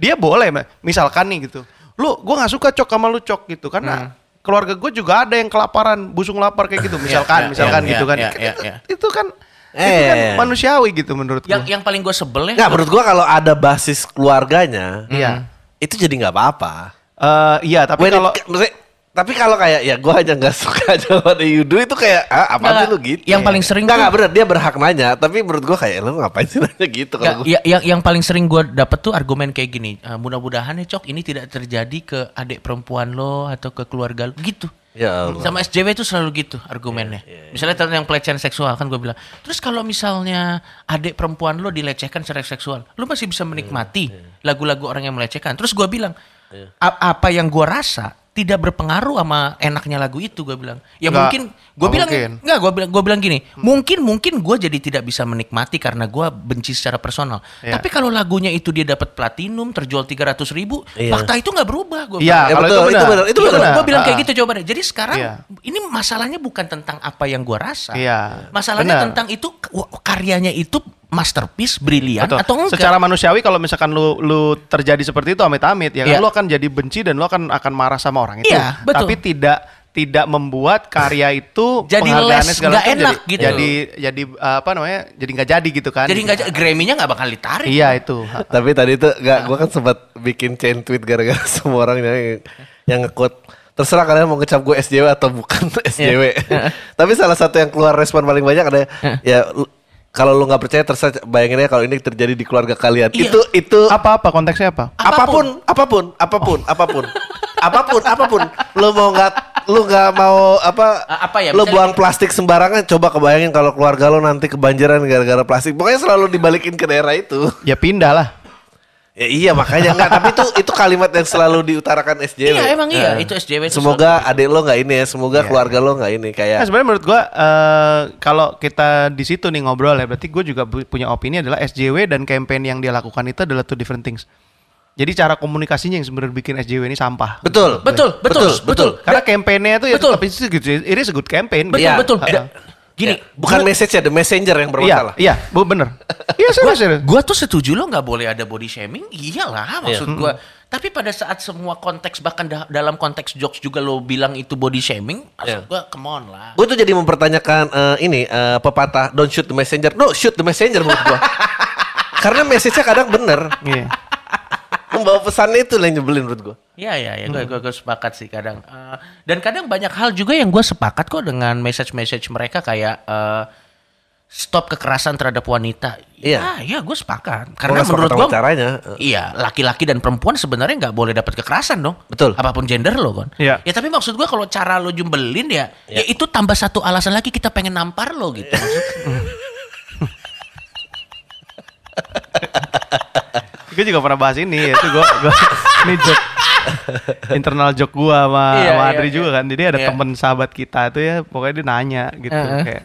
Dia boleh Ma. misalkan nih gitu. Lu gua nggak suka cok sama lu cok gitu Hmm. karena keluarga gue juga ada yang kelaparan, busung lapar kayak gitu misalkan, iya, misalkan iya, gitu kan. iya, iya, Itu- iya. Itu kan itu Eh. kan manusiawi gitu menurut Yang gue. yang paling gue sebel ya. Enggak, menurut gua kalau ada basis keluarganya, Hmm. Iya. itu jadi nggak apa-apa. Eh, iya, tapi When it- kalau maksudnya- tapi kalau kayak ya gua aja nggak suka jawaban Yudo itu kayak ah, Nggak, apa sih lu nggak. gitu. Yang paling sering nggak tuh- nggak benar dia berhak nanya, tapi menurut gua kayak lu ngapain sih nanya gitu Nggak, kalau gua. ya, yang yang paling sering gue dapet tuh argumen kayak gini. "Eh, mudah-mudahan ya cok ini tidak terjadi ke adik perempuan lo atau ke keluarga lo gitu. Ya Allah. Ya, Sama SJW itu selalu gitu argumennya. Misalnya tentang yang pelecehan seksual kan gue bilang. Terus kalau misalnya adik perempuan lo dilecehkan secara seksual, lo masih bisa Hmm, menikmati ya. lagu-lagu orang yang melecehkan. Terus gue bilang, "A- apa yang gue rasa tidak berpengaruh sama enaknya lagu itu gue bilang. Ya Nggak, mungkin gue nggak bilang mungkin. Nggak, gue bilang gue bilang gini. Mungkin mungkin gue jadi tidak bisa menikmati karena gue benci secara personal. Iya. Tapi kalau lagunya itu dia dapat platinum, terjual 300 ribu, Iya. fakta itu nggak berubah gue. Iya, kalau Ya betul, itu itu benar. benar, itu Iya, benar. gua bilang kayak Ah. gitu jawabannya. Jadi sekarang Iya. ini masalahnya bukan tentang apa yang gua rasa. Iya, Masalahnya benar. tentang itu w- karyanya itu masterpiece, brilian Betul. Ya, atau enggak. Secara manusiawi kalau misalkan lu lu terjadi seperti itu amit-amit ya kan Iya. lu akan jadi benci dan lu akan akan marah sama orang itu. Iya, betul. Tapi tidak tidak membuat karya itu Jadi penghargaannya less, segala nggak macam enak jadi, gitu. Jadi jadi apa namanya? Jadi nggak jadi gitu kan. jadi enggak Grammy-nya enggak bakal ditarik. Iya itu. Tapi tadi tuh nggak gua kan sempat bikin chain tweet gara-gara semua orang yang yang nge-quote terserah kalian mau ngecap gue SJW atau bukan SJW. Iya. Tapi salah satu yang keluar respon paling banyak ada ya lu- kalau lu nggak percaya terserah bayangin aja kalau ini terjadi di keluarga kalian. Iya. Itu itu Apa-apa konteksnya apa? apapun apapun apapun Oh. apapun apapun apapun lu mau nggak lu nggak mau apa A- apa ya, lu misalnya- buang plastik sembarangan coba kebayangin kalau keluarga lu nanti kebanjiran gara-gara plastik pokoknya selalu dibalikin ke daerah itu Ya pindah lah. ya iya makanya nggak tapi itu itu kalimat yang selalu diutarakan SJW Iya, emang iya, itu SJW itu semoga adik lo nggak ini ya Iya. semoga keluarga lo nggak ini kayak Nah, sebenarnya menurut gua eh, kalau kita di situ nih ngobrol ya berarti gua juga bu- punya opini adalah SJW dan campaign yang dia lakukan itu adalah two different things. Jadi cara komunikasinya yang sebenarnya bikin SJW ini sampah. Betul, Betul, betul, betul, betul. betul. Karena kampanye itu ya Betul. tetap itu gitu. It is a good campaign. Betul, Iya. betul. Iya. Gini, Bukan message ya, the messenger yang bermasalah. Iya, iya, bu- bener. Iya, serius, serius. Gua tuh setuju lo nggak boleh ada body shaming, iyalah maksud gua. Tapi pada saat semua konteks bahkan da- dalam konteks jokes juga lo bilang itu body shaming, Iya. maksud gua come on lah. Gue tuh jadi mempertanyakan eh, ini eh, pepatah don't shoot the messenger. No, shoot the messenger menurut gue. Karena message-nya kadang bener. Iya. Membawa pesannya itu yang nyebelin menurut gue. Iya iya ya, gue sepakat sih kadang. Eh, dan kadang banyak hal juga yang gue sepakat kok dengan message-message mereka kayak eh, stop kekerasan terhadap wanita. Iya. iya gue Gua sepakat. Karena nggak menurut sepakat gue sama caranya. Eh. Iya, laki-laki dan perempuan sebenarnya nggak boleh dapat kekerasan dong. Betul. Apapun gender lo kan. Iya. Ya tapi maksud gue kalau cara lo jumbelin ya, ya itu tambah satu alasan lagi kita pengen nampar lo gitu. Iya. Gue juga pernah bahas ini, itu gue, gue ini joke internal joke gue sama, Iya, sama iya, Adri iya. juga kan. Jadi ada Iya. temen sahabat kita tuh ya, pokoknya dia nanya gitu Heeh. kayak,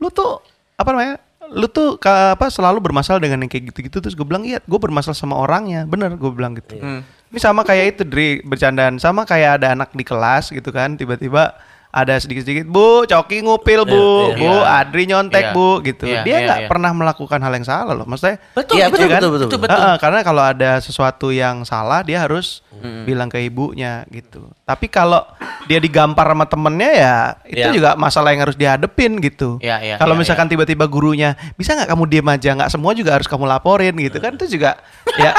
lu tuh apa namanya? Lu tuh ka- apa selalu bermasalah dengan yang kayak gitu-gitu terus gue bilang iya, gue bermasalah sama orangnya, bener gue bilang gitu. Iya. Ini sama kayak itu Dri bercandaan, sama kayak ada anak di kelas gitu kan, tiba-tiba ada sedikit-sedikit bu coki ngupil bu Iya, bu iya. Adri nyontek Iya. bu gitu Iya, dia iya, nggak iya. pernah melakukan hal yang salah loh maksudnya Betul, Iya, itu betul, kan? betul, betul, Itu betul. betul. Heeh, Eh, karena kalau ada sesuatu yang salah dia harus bilang ke ibunya gitu. Tapi kalau dia digampar sama temennya ya itu Iya. juga masalah yang harus dihadepin gitu. Iya, iya, kalau iya, misalkan tiba-tiba gurunya bisa nggak kamu diem aja nggak semua juga harus kamu laporin gitu kan itu juga ya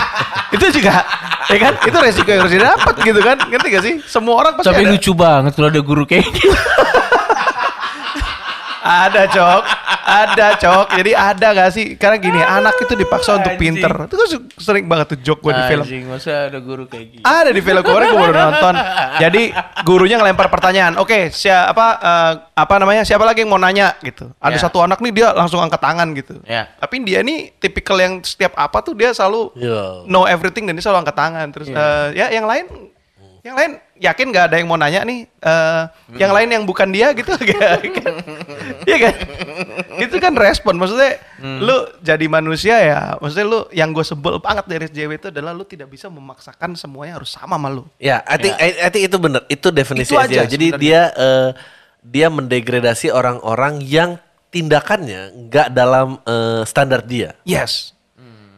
itu juga ya kan itu resiko yang harus didapat gitu kan ngerti gak sih semua orang pasti Tapi ada, lucu banget kalau ada guru kayak gitu. ada cok ada cok jadi ada gak sih karena gini anak itu dipaksa untuk Ah, anjing. Ah, pinter itu kan sering banget tuh joke gue di film Anjing, masa ada guru kayak gitu. Ada di film kemarin gue baru nonton. Jadi gurunya ngelempar pertanyaan. Oke, siapa eh, apa namanya? Siapa lagi yang mau nanya gitu. Ada Ya. satu anak nih dia langsung angkat tangan gitu. Ya. Tapi dia nih tipikal yang setiap apa tuh dia selalu Yo. know everything dan dia selalu angkat tangan. Terus eh, ya yang lain yang lain yakin nggak ada yang mau nanya nih Eh, yang lain yang bukan dia gitu Iya kan? Iya kan itu kan respon maksudnya lu jadi manusia ya maksudnya lu yang gue sebel banget dari SJW itu adalah lu tidak bisa memaksakan semuanya harus sama sama lu Ya, I think I, I think itu benar. Itu definisi Itu aja aja. Jadi dia eh, dia mendegradasi orang-orang yang tindakannya nggak dalam eh, standar dia. yes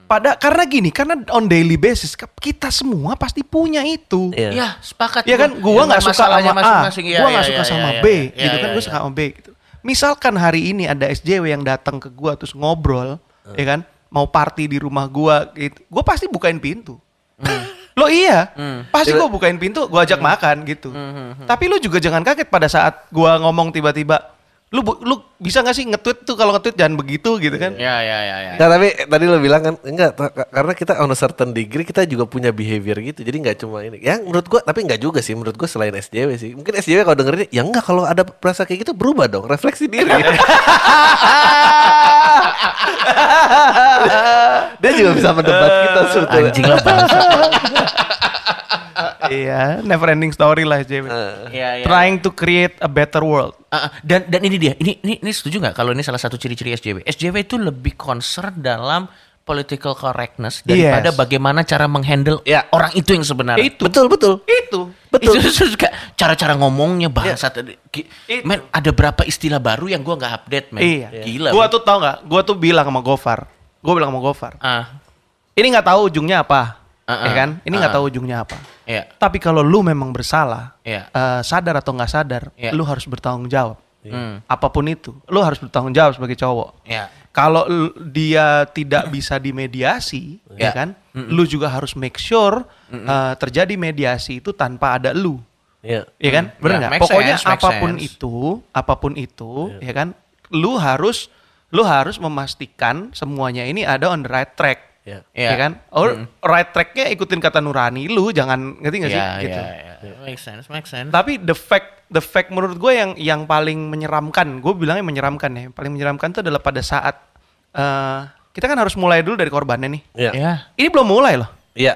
pada karena gini karena on daily basis ke- kita semua pasti punya itu Iya. Iya, sepakat. Iya kan, gua nggak suka sama masalahnya A, masing-masing. Iya, gua iya, nggak iya, suka iya, sama iya, B, iya, gitu kan iya, gua iya. suka sama B gitu. Misalkan hari ini ada SJW yang datang ke gua terus ngobrol, Eh. ya kan, mau party di rumah gua gitu, gua pasti bukain pintu. Hmm. Lo iya, pasti gua bukain pintu, gua ajak makan gitu. Hmm, Tapi lu juga jangan kaget pada saat gua ngomong tiba-tiba, lu bu- lu bisa nggak sih nge-tweet tuh kalau nge-tweet jangan begitu gitu kan? Iya, iya, iya, iya. Nah, tapi tadi lo bilang kan enggak ta- ka- karena kita on a certain degree kita juga punya behavior gitu. Jadi nggak cuma ini. Ya menurut gua tapi nggak juga sih menurut gua selain SJW sih. Mungkin SJW kalau dengerin ya enggak kalau ada perasa kayak gitu berubah dong, refleksi diri. Ah! Dia juga bisa mendebat kita sebetulnya. Anjing lah bangsa. iya, never ending story lah SJW. Iya, iya. Trying to create a better world. Ah, ah, dan dan ini dia. Ini ini, ini setuju nggak kalau ini salah satu ciri-ciri SJW? SJW itu lebih concern dalam political correctness daripada Yes. bagaimana cara menghandle Ya. orang itu yang sebenarnya. Betul, betul. Itu. Betul. Itu suka cara-cara Ya. ngomongnya bahasa tadi. Ki- Itu. Men, ada berapa istilah baru yang gua nggak update, men. Iya. Gila. Gua men. tuh tau nggak? Gua tuh bilang sama Gofar. Gua bilang sama Gofar. Ah, Ini nggak tahu ujungnya apa, Uh-uh. ya kan? Ini nggak Uh-uh. tahu ujungnya apa. iya. Tapi kalau lu memang bersalah, Iya. eh, sadar atau nggak sadar, Iya. lu harus bertanggung jawab. Hmm. Apapun itu, lu harus bertanggung jawab sebagai cowok. Iya. Kalau l- dia tidak bisa dimediasi, ya Iya. kan? Lu juga harus make sure eh, terjadi mediasi itu tanpa ada lu. Iya. Iya kan? Hmm. Bener Ya, nggak? make Pokoknya sense, make apapun sense. Iya. itu, apapun itu, ya kan? Lu harus lu harus memastikan semuanya ini ada on the right track. Ya. Ya Iya. kan? Or right tracknya ikutin kata nurani lu, jangan ngerti nggak sih? Iya, gitu. iya, iya. Make sense, make sense. Tapi the fact the fact menurut gue yang yang paling menyeramkan, gue bilangnya menyeramkan ya. Yang paling menyeramkan itu adalah pada saat eh, kita kan harus mulai dulu dari korbannya nih. Iya. Iya. Ini belum mulai loh Iya.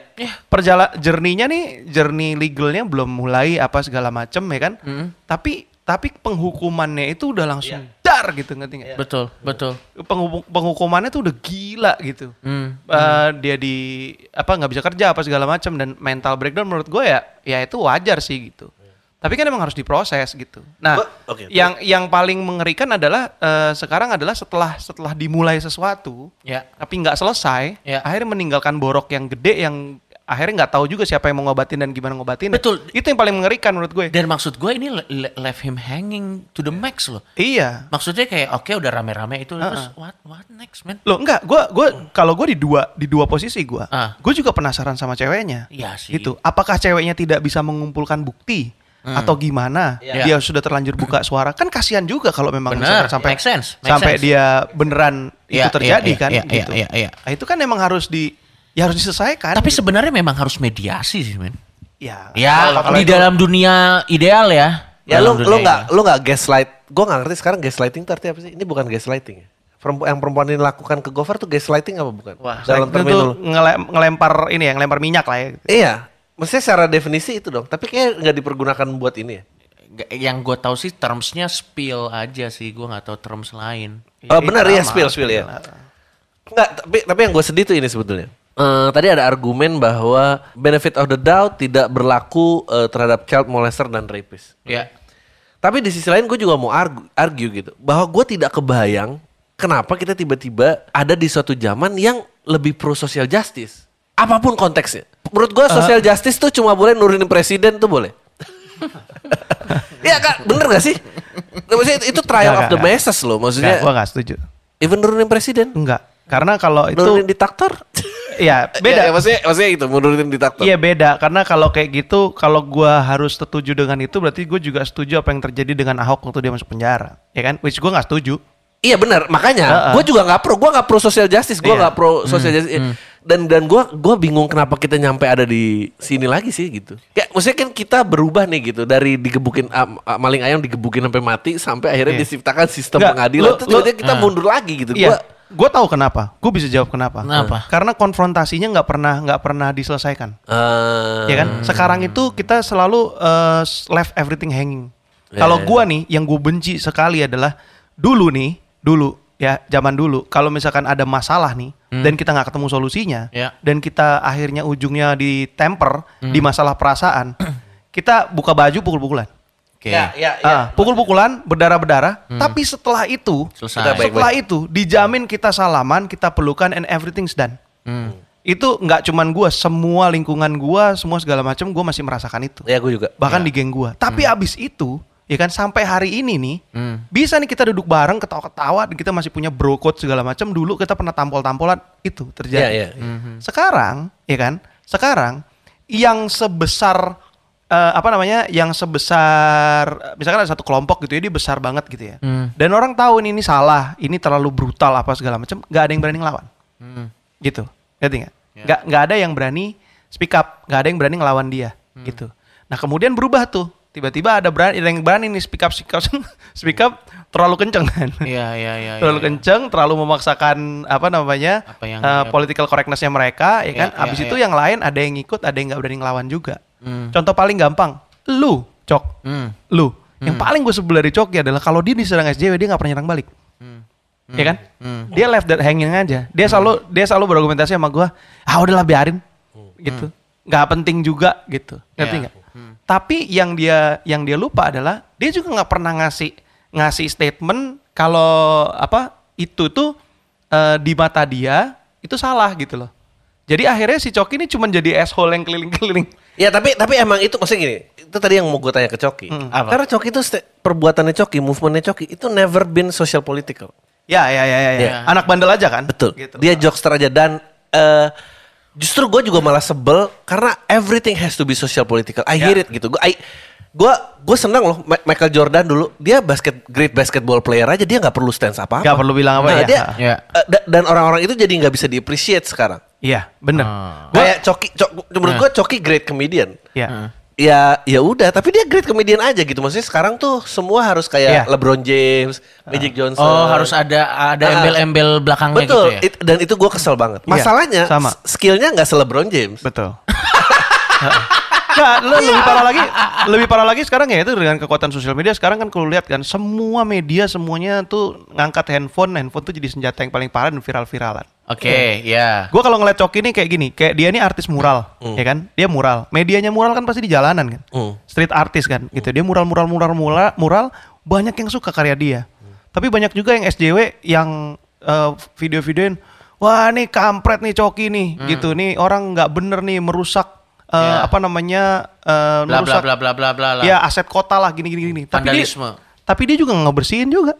perjala jerninya nih jernih legalnya belum Hmm. Iya. mulai apa segala macem ya kan tapi tapi penghukumannya itu udah langsung dar keluar gitu ngerti nggak? Betul, betul. Penghukum- penghukumannya tuh udah gila gitu. Hmm. Eh, dia di apa nggak bisa kerja apa segala macam dan mental breakdown menurut gue ya ya itu wajar sih gitu. Tapi kan emang harus diproses gitu. Nah, Ba- oke. yang yang paling mengerikan adalah eh, sekarang adalah setelah setelah dimulai sesuatu Ya. tapi nggak selesai, Ya. akhirnya meninggalkan borok yang gede yang akhirnya nggak tahu juga siapa yang mau ngobatin dan gimana ngobatin. Betul. Itu yang paling mengerikan menurut gue. Dan maksud gue ini le- le- left him hanging to the max loh. iya. Maksudnya kayak oke udah rame-rame itu terus what what next man? Loh enggak, gua gua kalau gua di dua di dua posisi gua. Ah. Gua juga penasaran sama ceweknya. Iya sih. Hmm. Gitu. Apakah ceweknya tidak bisa mengumpulkan bukti atau gimana? Iya. Dia sudah terlanjur buka suara. Kan kasihan juga kalau memang Bener, misalkan sampai make sense, make sampai sense. dia beneran Iya, itu terjadi iya, iya, kan iya, gitu. iya, iya. Nah, itu kan emang harus di ya harus diselesaikan. Tapi gitu. sebenarnya memang harus mediasi sih men. Ah, ya, Ya kalau- kalau di itu- dalam dunia ideal ya. Ya lu Dalam lu dunia nggak lu nggak gaslight. Gua nggak ngerti sekarang gaslighting itu artinya apa sih? Ini bukan gaslighting ya. Perempu- yang perempuan ini lakukan ke Gofar tuh gaslighting apa bukan? Wah, dalam itu tuh terminologi. ngele- ngelempar ini ya, ngelempar minyak lah ya. Iya, mestinya secara definisi itu dong. Tapi kayak nggak dipergunakan buat ini ya. Nggak- yang gue tahu sih termsnya spill aja sih gue nggak tahu terms lain Oh, benar ya, sama, spill spill ya. Enggak, tapi tapi yang gue sedih tuh ini sebetulnya. Eh, tadi ada argumen bahwa benefit of the doubt tidak berlaku eh, terhadap child molester dan rapist. ya Tapi di sisi lain gue juga mau argue, argue gitu bahwa gue tidak kebayang kenapa kita tiba-tiba ada di suatu zaman yang lebih pro social justice. Apapun konteksnya. Eh. Menurut gue social justice tuh cuma boleh nurunin presiden tuh boleh. Iya kak, bener gak sih? Nah, Maksudnya itu, itu trial Nggak, of the nggak, masses loh. Enggak, gua Maksudnya enggak setuju. even nurunin presiden, Enggak. Karena kalau nurunin itu diktator. ya beda. Ya, ya, maksudnya, maksudnya itu nurunin diktator. Iya beda karena kalau kayak gitu kalau gua harus setuju dengan itu berarti gue juga setuju apa yang terjadi dengan Ahok waktu dia masuk penjara ya kan which gua nggak setuju Iya benar, Heeh. makanya gue juga nggak pro, gue nggak pro social justice, gue Iya. Hmm. nggak pro social justice, dan dan gue gua bingung kenapa kita nyampe ada di sini lagi sih gitu. Kayak maksudnya kan kita berubah nih gitu dari digebukin am- am- maling ayam digebukin sampai mati sampai akhirnya Iya. diciptakan sistem Nggak, pengadilan. lu- Terus lu- tiba-tiba kita mundur lagi gitu. iya Gua- gue tahu kenapa gue bisa jawab kenapa Kenapa? karena konfrontasinya nggak pernah nggak pernah diselesaikan Eh, ya kan sekarang itu kita selalu eh, left everything hanging kalau gua nih yang gue benci sekali adalah dulu nih dulu ya zaman dulu kalau misalkan ada masalah nih dan kita nggak ketemu solusinya Ya. dan kita akhirnya ujungnya di temper di masalah perasaan kita buka baju pukul-pukulan oke ya, Hmm. Ah, pukul-pukulan berdarah-berdarah tapi setelah itu Selesai. kita setelah itu dijamin kita salaman kita pelukan and everything's done Hmm. itu nggak cuman gua semua lingkungan gua semua segala macam gua masih merasakan itu ya Hmm. gue juga. bahkan di geng gua. Tapi abis itu, ya kan sampai hari ini nih, Hmm. bisa nih kita duduk bareng ketawa-ketawa, dan kita masih punya bro code segala macam. Dulu kita pernah tampol-tampolan itu terjadi. Iya, iya. Sekarang, ya kan? Sekarang yang sebesar eh, apa namanya? Yang sebesar misalkan ada satu kelompok gitu ya, dia besar banget gitu ya. Dan orang tahu ini, ini salah, ini terlalu brutal apa segala macam, nggak ada yang berani ngelawan gitu ngerti nggak nggak nggak ada yang berani speak up nggak ada yang berani ngelawan dia gitu nah kemudian berubah tuh tiba-tiba ada berani ada yang berani nih speak up speak up speak up terlalu kenceng kan Iya, iya, iya. terlalu iya. kenceng terlalu memaksakan apa namanya Apa yang- eh, political correctness-nya mereka ya Iya, kan iya, Hmm. abis itu iya. yang lain ada yang ngikut ada yang nggak berani ngelawan juga contoh paling gampang lu cok Hmm. lu yang paling gue sebel dari Coki adalah kalau dia diserang SJW dia nggak pernah nyerang balik ya kan dia left that hanging aja dia selalu dia selalu berargumentasi sama gue ah udahlah biarin gitu nggak penting juga gitu ngerti Ya. nggak tapi yang dia yang dia lupa adalah dia juga nggak pernah ngasih ngasih statement kalau apa itu tuh eh, di mata dia itu salah gitu loh jadi akhirnya si Coki ini cuma jadi asshole yang keliling-keliling Ya tapi tapi emang itu maksudnya gini, itu tadi yang mau gue tanya ke Coki. Hmm, Apa? Karena Coki itu sta- perbuatannya Coki, movementnya Coki itu never been social political. ya ya ya ya, ya. Ya. anak bandel aja kan Betul. Gitu. Dia jokester aja dan eh, justru gue juga malah sebel karena everything has to be social political. I Ya. hear it gitu. Gue gue gue senang loh Ma- Michael Jordan dulu dia basket great basketball player aja dia nggak perlu stance apa apa. Nggak perlu bilang apa, Nah, ya. dia, Ya. eh, da- dan orang-orang itu jadi nggak bisa di appreciate sekarang. Iya, bener. Ah. Gua- Nah. Kayak Coki, Cok- menurut gue Coki great comedian. Iya. Ya, ya udah. Tapi dia great comedian aja gitu. Maksudnya sekarang tuh semua harus kayak Iya. LeBron James, Ah. Magic Johnson. Oh, harus ada ada Ah. embel-embel belakangnya Betul. gitu ya. It- dan itu gue kesel banget. Iya, Masalahnya, sama. s- skillnya nggak se LeBron James. betul. Nggak, Iya. le- lebih parah lagi, lebih parah lagi sekarang ya itu dengan kekuatan sosial media sekarang kan kalau lihat kan semua media semuanya tuh ngangkat handphone, handphone tuh jadi senjata yang paling parah dan viral-viralan. Oke, ya. Gue kalau ngeliat Coki ini kayak gini, kayak dia ini artis mural, Hmm. ya kan? Dia mural, medianya mural kan pasti di jalanan kan, Hmm. street artis kan, Hmm. gitu. Dia mural, mural, mural, mural, mural, banyak yang suka karya dia. Hmm. Tapi banyak juga yang SJW yang eh, video-videoin, wah nih kampret nih Coki nih, Hmm. gitu. Nih orang nggak bener nih merusak eh, Ya. apa namanya eh, Bla bla merusak bla bla bla bla. ya aset kota lah gini gini gini. Tapi dia, Vandalisme. tapi dia juga ngebersihin juga.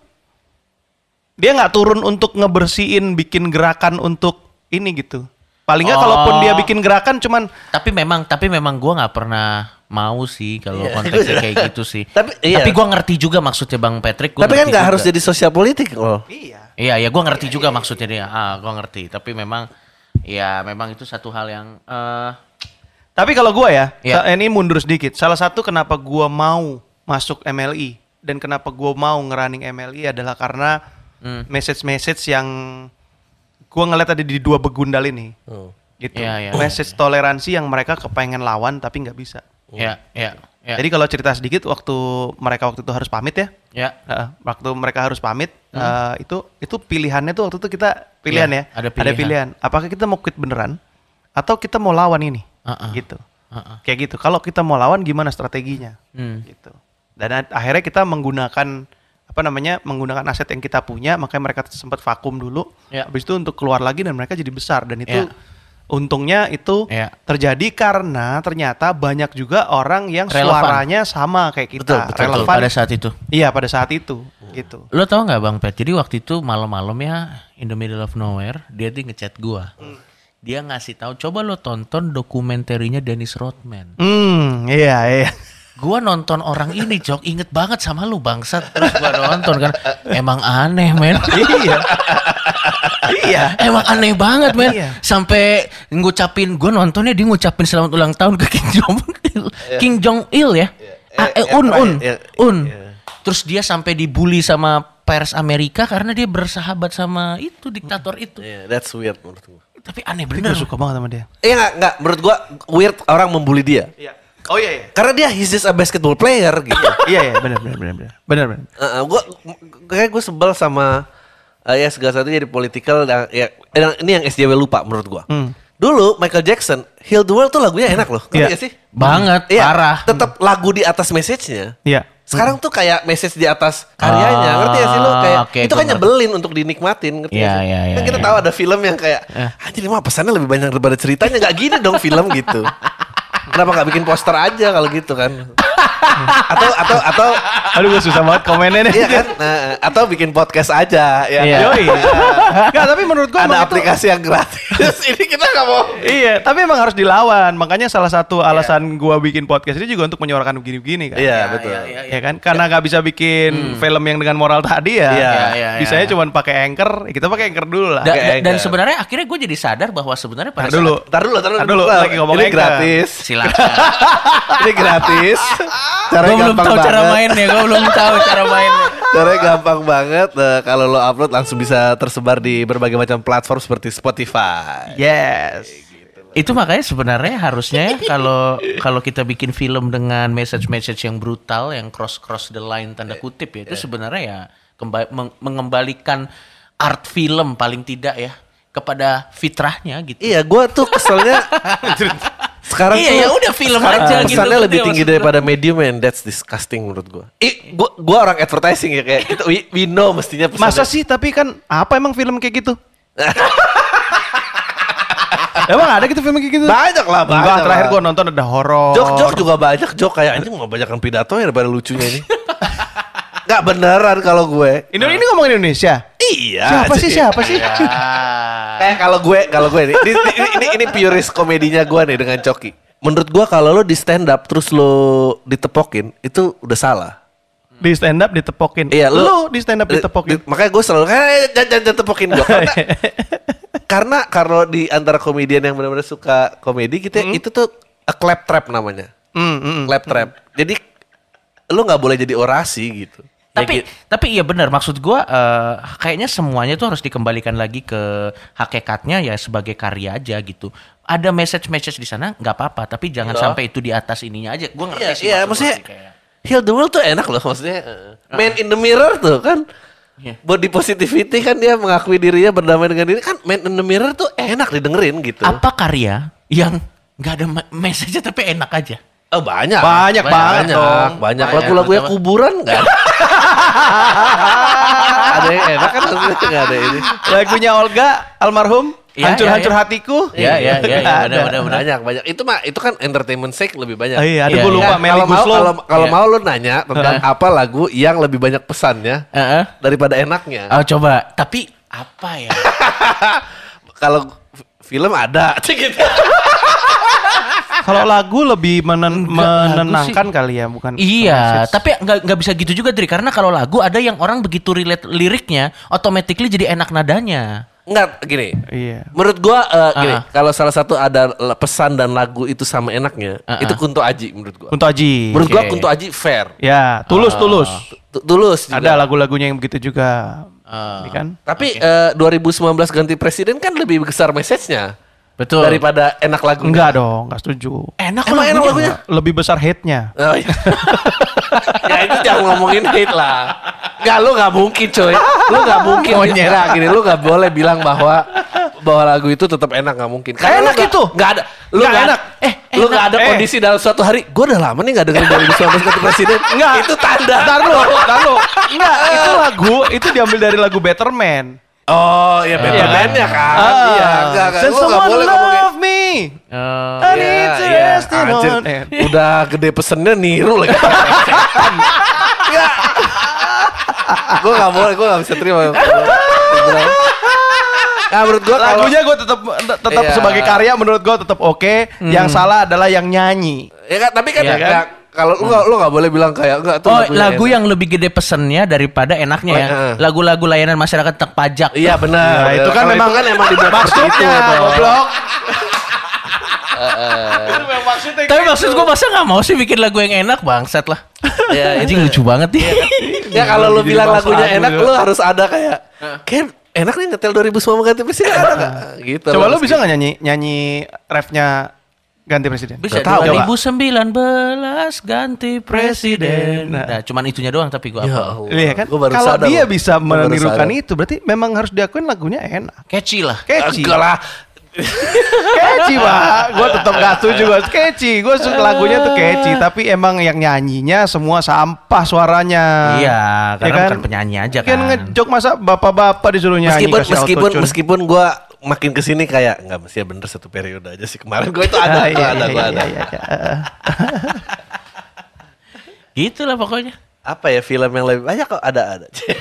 Dia nggak turun untuk ngebersihin bikin gerakan untuk ini gitu. Paling nggak Oh. kalaupun dia bikin gerakan cuman Tapi memang tapi memang gua nggak pernah mau sih kalau konteksnya kayak gitu sih. Iya. Tapi- iya. tapi gua ngerti juga maksudnya Bang Patrick. gua Tapi kan ngerti nggak juga. harus jadi sosial politik loh. iya. Iya, ya gua ngerti juga maksudnya dia. Ah, gua ngerti. Tapi memang ya memang itu satu hal yang eh Tapi kalau gua ya, Iya. sa- ini mundur sedikit. Salah satu kenapa gua mau masuk MLI dan kenapa gua mau ngerunning MLI adalah karena Hmm. message-message yang gua ngeliat tadi di dua begundal ini. Gitu. Iya, iya. message toleransi yang mereka kepengen lawan tapi nggak bisa. Oh. ya ya ya. Jadi kalau cerita sedikit waktu mereka waktu itu harus pamit ya. ya. Heeh, waktu mereka harus pamit eh, itu itu pilihannya tuh waktu itu kita pilihan Iya, ya. Hmm. ada pilihan. Apakah kita mau quit beneran atau kita mau lawan ini? Uh-uh. Gitu. Uh-uh. Kayak gitu. Kalau kita mau lawan gimana strateginya? Hmm. Gitu. Dan a- akhirnya kita menggunakan apa namanya? menggunakan aset yang kita punya, makanya mereka sempat vakum dulu. Iya. Habis itu untuk keluar lagi dan mereka jadi besar dan itu Iya. untungnya itu Iya. terjadi karena ternyata banyak juga orang yang Relevan. suaranya sama kayak kita Betul, betul, relevan Pada saat itu. iya pada saat itu gitu Lo tau nggak Bang Pet? Jadi waktu itu malam-malam ya in the middle of nowhere dia tuh ngechat gua. Hmm. Dia ngasih tahu coba lo tonton dokumenterinya Dennis Rodman. hmm iya iya Gua nonton orang ini, Jok, inget banget sama lu bangsat. Terus gua nonton kan emang aneh, men. iya iya Emang aneh banget men Iya. Sampai ngucapin Gue nontonnya dia ngucapin selamat ulang tahun ke King Jong Il Iya. King Jong Il Eh, ya Ah, eh, yang Un terakhir, Un ya, Un iya. Terus dia sampai dibully sama pers Amerika Karena dia bersahabat sama itu diktator itu Iya, that's weird menurut gua. Tapi aneh gue bener suka banget sama dia Iya nggak nggak menurut gua weird orang membuli dia. iya oh iya iya Karena dia he's just a basketball player gitu. iya iya benar benar benar benar benar benar Heeh, gua kayak gue sebel sama eh, ya segala satu jadi political dan ya dan ini yang SJW lupa menurut gua. Hmm. Dulu Michael Jackson Heal the World tuh lagunya enak loh. Ngerti Iya. nggak sih? Banget Iya, parah Tetap lagu di atas message-nya. iya Sekarang tuh kayak message di atas karyanya, Ah, ngerti ya sih lo? Kayak oke, itu gua kan nyebelin untuk dinikmatin, ngerti Iya, nggak sih? iya, iya, kan kita iya. Eh. tahu ada film yang kayak, anjir mah pesannya lebih banyak daripada ceritanya, nggak gini dong film gitu. Kenapa nggak bikin poster aja kalau gitu kan? atau atau atau aduh gue susah banget komennya deh iya kan? Nah, atau bikin podcast aja, ya. Iya. Yoi. Nggak, tapi menurut gue Ada aplikasi yang gratis. Ini kita nggak mau. Iya, tapi emang harus dilawan. Makanya salah satu alasan gua bikin podcast ini juga untuk menyuarakan begini-begini kan. Iya betul. Hmm. iya, iya. Ya kan, karena nggak bisa bikin film yang dengan moral tadi ya. Iya, iya, Bisanya iya. cuma pakai anchor. Ya, Kita pakai anchor dulu lah. Da- Oke, da- Dan enggak. sebenarnya akhirnya gue jadi sadar bahwa sebenarnya pada Ntar dulu. Tar dulu, tar dulu. Ntar dulu, Bentar. lagi ngomong Ini anchor. gratis. saat- Silakan Ini gratis. Cara Gue belum gampang tahu cara banget. mainnya Gue belum tahu cara mainnya Caranya gampang banget. eh, kalau lo upload langsung bisa tersebar di berbagai macam platform seperti Spotify. Yes. gitu Itu makanya sebenarnya harusnya ya kalau kalau kita bikin film dengan message-message yang brutal yang cross-cross the line Eh, tanda kutip ya itu sebenarnya ya kemba- meng- mengembalikan art film paling tidak ya kepada fitrahnya gitu. Iya, gue tuh keselnya sekarang Iya, tuh ya udah, film sekarang aja gitu, pesannya gitu lebih ya tinggi maksud gua. daripada medium and that's disgusting menurut gue. Ih, gue gue orang advertising ya kayak kita, we, we know mestinya pesannya. Masa sih tapi kan apa emang film kayak gitu? emang ada gitu film kayak gitu? banyak lah banyak. Enggak, lah. terakhir gua nonton ada horor. Oh. Jok-jok juga banyak jok kayak anjing mau banyakkan pidato ya daripada lucunya ini. Gak beneran kalau gue. Ini ini ngomong Indonesia. Iya. siapa sih sih siapa sih? Kayak Eh, kalau gue, kalau gue nih, ini, ini, ini, ini purist komedinya gue nih dengan Coki. Menurut gue kalau lo di stand up terus lo ditepokin itu udah salah. Di stand up ditepokin. Iya lu, lo, di stand up di- ditepokin. di- makanya gue selalu kayak "Eh, jangan jangan- jangan tepokin gue. Karena, karena kalau di antara komedian yang benar-benar suka komedi gitu, ya, itu tuh a clap trap namanya, Hmm, hmm, hmm. clap trap. Jadi lo nggak boleh jadi orasi gitu. Tapi tapi iya benar maksud gua eh, kayaknya semuanya tuh harus dikembalikan lagi ke hakikatnya ya sebagai karya aja gitu. ada message-message di sana nggak apa-apa tapi jangan Iya. sampai itu di atas ininya aja gue ngerti Iya, sih iya maksud lo maksudnya sih kayak- heal the world tuh enak loh maksudnya. eh, Man in the mirror tuh kan. Iya. Body positivity kan dia mengakui dirinya berdamai dengan diri kan man in the mirror tuh enak didengerin gitu. apa karya yang nggak ada me- message-nya tapi enak aja Oh, banyak. Banyak banget banyak, dong. banyak. Banyak. Lagu-lagunya kuburan enggak? ada yang enak kan maksudnya enggak ada ini. Lagunya Olga almarhum Iya, hancur-hancur iya, iya. hatiku. Iya, iya, iya, iya, Nggak benar, ada. benar. Banyak, banyak. Itu mah itu kan entertainment sake lebih banyak. Oh, iya, aduh Iya, gue iya. lupa Nah, Melly kalau mau Guslo. kalau, kalau Iya. mau lu nanya tentang apa lagu yang lebih banyak pesannya Heeh. daripada enaknya. Oh, coba tapi apa ya Kalau f- film ada gitu. Ah, Kalau lagu lebih menen- lagu menenangkan kali ya, bukan Iya, message. tapi nggak nggak bisa gitu juga Dri karena kalau lagu ada yang orang begitu relate liriknya, automatically jadi enak nadanya. Enggak gini. Iya. Menurut gua eh, gini, Ah. kalau salah satu ada l- pesan dan lagu itu sama enaknya, Ah, itu ah. Kunto Aji menurut gua. Kunto Aji. Menurut gua Oke. Kunto Aji fair. Ya, tulus tulus. Tu- Tulus juga. Ada lagu-lagunya yang begitu juga. Ah. Ini kan. Tapi eh, 2019 ganti presiden kan lebih besar message-nya Betul. daripada enak lagu. Enggak dong, enggak setuju. Enak Emang lagunya. enak lagunya? Lebih besar hate-nya. Oh, iya. ya itu jangan ngomongin hate lah. Gak, lu gak mungkin coy. Lu gak mungkin. Nah, gini, lu gak boleh bilang bahwa bahwa lagu itu tetap enak gak mungkin. Karena enak lu gak- itu. Gak ada. Lu Gak gak, enak. Eh, lu gak ada Eh. kondisi dalam suatu hari. Gue udah lama nih gak dengerin 2019 ganti presiden. Enggak. Itu tanda. Ntar lu, ntar lu. Enggak, itu lagu itu diambil dari lagu Better Man. Oh iya better Ah. man-nya kan. Iya. Enggak, enggak. Then Lu Ah. gak someone boleh ngomongin. love me. Eh, I Iya, need to iya. rest in Anjir, on- Eh, Udah gede pesennya niru lagi. gue gak boleh, gue gak bisa terima. Nah menurut gue kalau Lagunya gue tetap tetap Iya. Hmm. sebagai karya menurut gue tetap oke. Yang salah adalah yang nyanyi. ya kan, tapi kan, Iya kan? nggak- kalau lu gak, lu gak boleh bilang kayak enggak tuh Oh, lagunya lagu enak." yang lebih gede pesennya daripada enaknya ya. Oh, iya. Lagu-lagu layanan masyarakat tentang pajak. Iya benar. Nah, itu kan Kalau memang kan emang dibuat seperti itu. maksudnya Bang. goblok. Eh, Itu Kan memang maksudnya gitu. Tapi maksud gue masa nggak mau sih bikin lagu yang enak bangsat lah. Iya, Anjing lucu banget nih. Ya kalau lu Jadi bilang bangsa lagunya lagu enak, juga. lu harus ada kayak Ken enak nih ngetel 2019 ganti presiden ada nggak? Gitu. Coba harus lu bisa nggak nyanyi nyanyi refnya ganti presiden? Bisa Nggak tahu, coba. 2019 ganti presiden. Nah. Nah, cuman itunya doang tapi gue Ya apa? Allah. Iya kan? Gua baru Kalau sadar dia loh. bisa Gua baru menirukan sadar. itu, berarti memang harus diakuin lagunya enak. Catchy lah. Catchy, Enggak lah. catchy pak. Gue tetap gak setuju gue catchy. Gue suka lagunya tuh catchy, tapi emang yang nyanyinya semua sampah suaranya. Iya, Ya karena bukan penyanyi aja Kan kan. ngejok masa bapak-bapak disuruh nyanyi Meskipun Ya, kasih meskipun autotune. meskipun gua makin kesini kayak nggak mesti ya bener satu periode aja sih kemarin gua itu ada Ah, gua iya, ada iya, iya, gua ada. iya, iya, iya. Gitu lah pokoknya. Apa ya film yang lebih banyak kok ada ada. iya.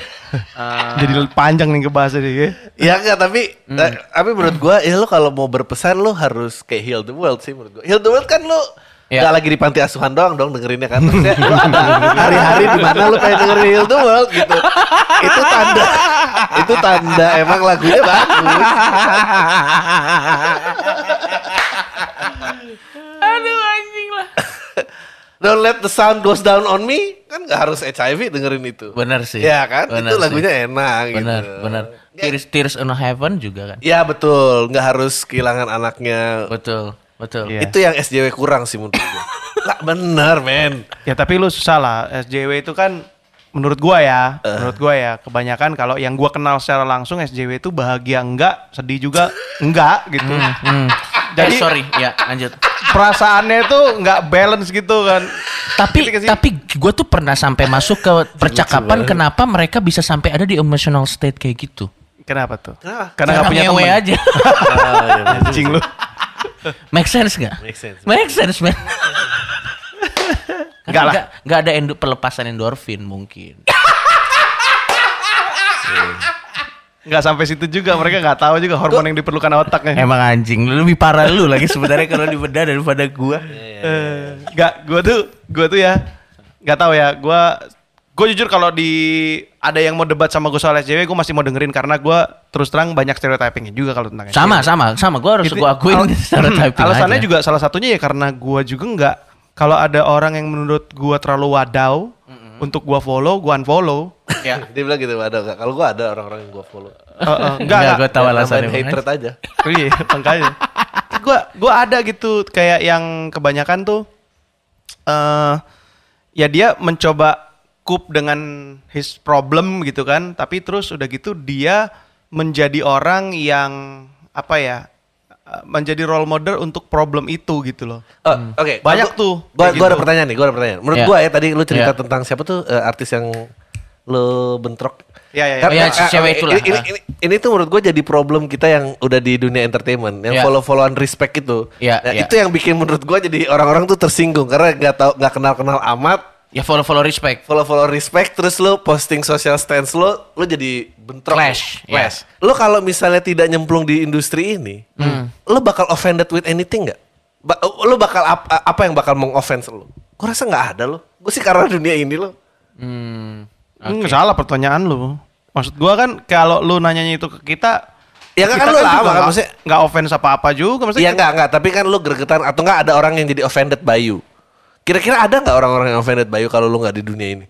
Jadi panjang nih ke bahasa dia. ya. ya enggak tapi Hmm. eh, tapi menurut gua ya lu kalau mau berpesan lu harus kayak heal the world sih menurut gua. Heal the world kan lu Ya. Nggak lagi di panti asuhan doang dong dengerinnya kan. Maksudnya Iya, lu ada hari-hari di mana lu pengen dengerin Heal the World gitu. Itu tanda itu tanda emang lagunya bagus. Aduh anjing lah. Don't let the sound goes down on me kan nggak harus HIV dengerin itu. Bener sih. Iya Ya kan Bener itu sih. lagunya enak. Bener, gitu. bener. Ya, Tears, Tears on Heaven juga kan. Iya. ya betul nggak harus kehilangan anaknya. Betul, betul. Iya. Itu yang SJW kurang sih menurut gue. Lah bener men. Ya tapi lu susah lah. SJW itu kan menurut gua ya, Eh. menurut gua ya kebanyakan kalau yang gua kenal secara langsung SJW itu bahagia enggak, sedih juga enggak gitu. Hmm. Jadi Jadi sorry, ya lanjut. perasaannya itu enggak balance gitu kan. Tapi Ngerti gak sih? tapi gue tuh pernah sampai masuk ke percakapan kenapa mereka bisa sampai ada di emotional state kayak gitu. kenapa tuh? Kenapa? Karena enggak punya ngewe teman. aja. Ah, iya, bener. Anjing lu. Make sense gak? Make sense. Make sense, man. Enggak lah. Nggak- nggak ada endo- pelepasan endorfin mungkin. Enggak sampai situ juga, mereka enggak tahu juga hormon yang diperlukan ya. otaknya. Emang anjing, lu lebih parah lu lagi sebenarnya kalau dibedah daripada gua. Eh, nggak gue tuh gue tuh ya nggak tahu ya gue gue jujur kalau di ada yang mau debat sama gue soal SJW gue masih mau dengerin karena gue terus terang banyak stereotypingnya juga kalau tentang Sama, sama, sama. Gua harus Itu- gua al- akuin secara typing alasannya aja. juga salah satunya ya karena gue juga nggak kalau ada orang yang menurut gue terlalu wadau untuk gue follow gue unfollow Ya. Dia bilang gitu ada nggak? Kalau gue ada orang-orang yang gue follow. Eh, eh, nggak Enggak, nggak gua tahu Ya, alasannya. Tambahin hatred aja. Iya, makanya. Gue gua gua ada gitu kayak yang kebanyakan tuh eh ya dia mencoba cope dengan his problem gitu kan, tapi terus udah gitu dia menjadi orang yang apa ya? eh, menjadi role model untuk problem itu gitu loh. Eh, Oke, Banyak gua- tuh, Gua, kayak gua ada gitu. pertanyaan nih, gua ada pertanyaan. Menurut Hmm. gua Iya. ya tadi lu cerita Iya. tentang siapa tuh eh, artis yang lu bentrok. Iya, iya, iya. Kan, Oh, iya, eh, eh, cewek eh, itulah. Ini, ini, ini, ini tuh menurut gua jadi problem kita yang udah di dunia entertainment, yang Iya. follow-followan respect itu. Iya, Nah, iya. Itu yang bikin menurut gua jadi orang-orang tuh tersinggung karena nggak tahu nggak kenal-kenal amat, Ya follow follow respect. follow-follow respect terus lu posting social stance lu, lu jadi bentrok. Clash, iya. Clash. Lu kalau misalnya tidak nyemplung di industri ini, lu bakal offended with anything nggak? Ba- uh, lu bakal ap- apa yang bakal mengoffense lu? Gue rasa nggak ada lo. Gue sih karena dunia ini lo. Hmm. Hmm, salah pertanyaan lu. Maksud gua kan kalau lu nanyanya itu ke kita Ya kan, kita kan lu lama juga kan, nggak- maksudnya- nggak offense apa-apa juga maksudnya. Iya nggak nggak. Tapi kan lu gregetan atau nggak ada orang yang jadi offended by you. Kira-kira ada nggak orang-orang yang offended by you kalau lu nggak di dunia ini?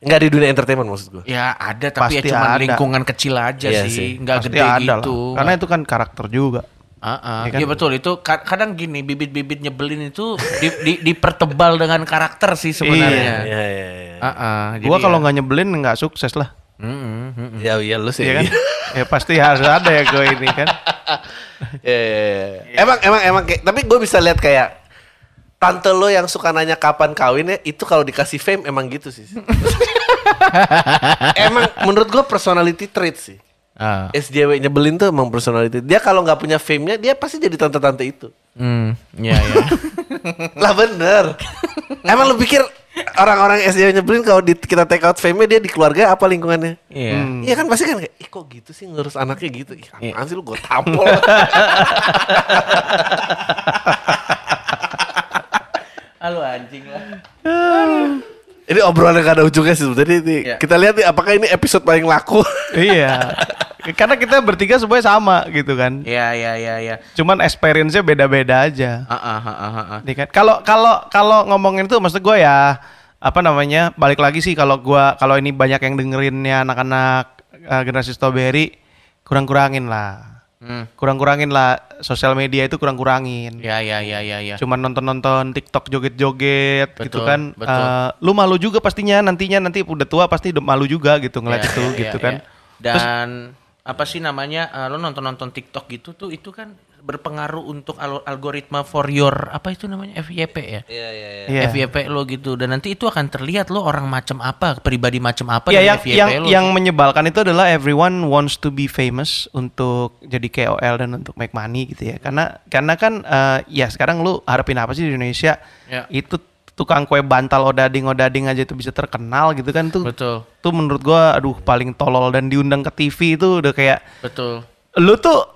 Nggak di dunia entertainment maksud gue. Ya ada tapi Pasti ya cuma ada. lingkungan kecil aja Iya sih. sih, nggak Pasti gede ada gitu. lah. Karena itu kan karakter juga. Ah, ah. Ya kan? Iya betul itu ka- kadang gini bibit-bibit nyebelin itu di, di- dipertebal dengan karakter sih sebenarnya. Iya iya iya. Ah, ah. Jadi Gua kalau ya- nggak nyebelin nggak sukses lah. Mm-mm, mm-mm. Ya iya lu sih. Iya kan? ya pasti harus ada ya gue ini kan. Iya, iya, iya. Emang emang emang kayak, tapi gue bisa lihat kayak tante lo yang suka nanya kapan kawinnya itu kalau dikasih fame emang gitu sih. emang menurut gue personality trait sih. Ah. SJW nyebelin tuh emang personality. Dia kalau nggak punya fame-nya dia pasti jadi tante-tante itu. Hmm, ya ya. lah bener. emang lu pikir orang-orang SJW nyebelin kalau di- kita take out fame-nya dia di keluarga apa lingkungannya? Iya. Iya kan pasti kan kayak, ih kok gitu sih ngurus anaknya gitu. Ih Iya. apaan sih lu gue tampol. Halo anjing lah. Ini obrolan yang gak ada ujungnya sih sebenarnya. ini. Iya. Kita lihat nih apakah ini episode paling laku. iya. Karena kita bertiga semuanya sama gitu kan. Iya iya iya iya. Cuman experience-nya beda-beda aja. Ah ah ah ah, ah. Ya kan? Kalau kalau kalau ngomongin itu maksud gue ya apa namanya? Balik lagi sih kalau gua kalau ini banyak yang dengerinnya anak-anak eh, generasi strawberry kurang-kurangin lah. Hmm. Kurang-kurangin lah sosial media itu kurang-kurangin. Ya ya ya ya ya. Cuman nonton-nonton TikTok joget-joget Betul, gitu kan. betul. Eh, lu malu juga pastinya nantinya nanti udah tua pasti udah malu juga gitu ngeliat Ya, itu ya, gitu ya, kan. ya. Dan apa sih namanya? eh, lo nonton-nonton TikTok gitu tuh itu kan berpengaruh untuk al- algoritma for your apa itu namanya FYP ya. Iya. FYP lo gitu dan nanti itu akan terlihat lo orang macam apa, pribadi macam apa Iya, dari yang FYP yang lo. yang menyebalkan itu adalah everyone wants to be famous untuk jadi KOL dan untuk make money gitu ya. Karena karena kan eh, ya sekarang lu harapin apa sih di Indonesia? Ya. Itu tukang kue bantal odading odading aja itu bisa terkenal gitu kan tuh. Betul. Tuh menurut gua aduh paling tolol dan diundang ke TV itu udah kayak Betul. lu tuh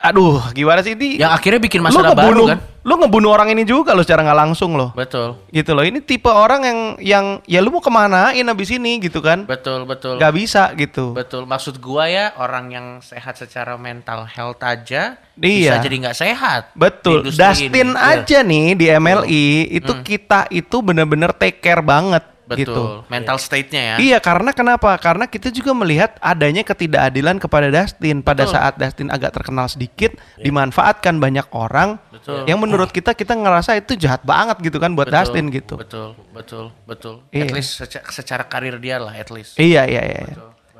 aduh gimana sih ini? Yang akhirnya bikin lu Iya. masalah ngebunuh, baru kan. Lu ngebunuh orang ini juga lo secara nggak langsung loh. Betul. Gitu loh. Ini tipe orang yang yang ya lu mau kemanain abis ini gitu kan? Betul, betul. nggak bisa gitu. Betul, maksud gua ya orang yang sehat secara mental health aja Iya. bisa jadi nggak sehat. Betul. di industri Dustin ini. iya. Hmm. aja nih di MLI itu kita itu bener-bener take care banget Betul, gitu. mental state-nya ya. Iya, karena kenapa? Karena kita juga melihat adanya ketidakadilan kepada Dustin pada Betul. Ya. saat Dustin agak terkenal sedikit dimanfaatkan banyak orang Betul. yang menurut kita kita ngerasa itu jahat banget gitu kan buat Betul, Dustin gitu. Betul, betul, betul. Iya. At least seca- secara, karir dia lah at least. Iya, iya, iya.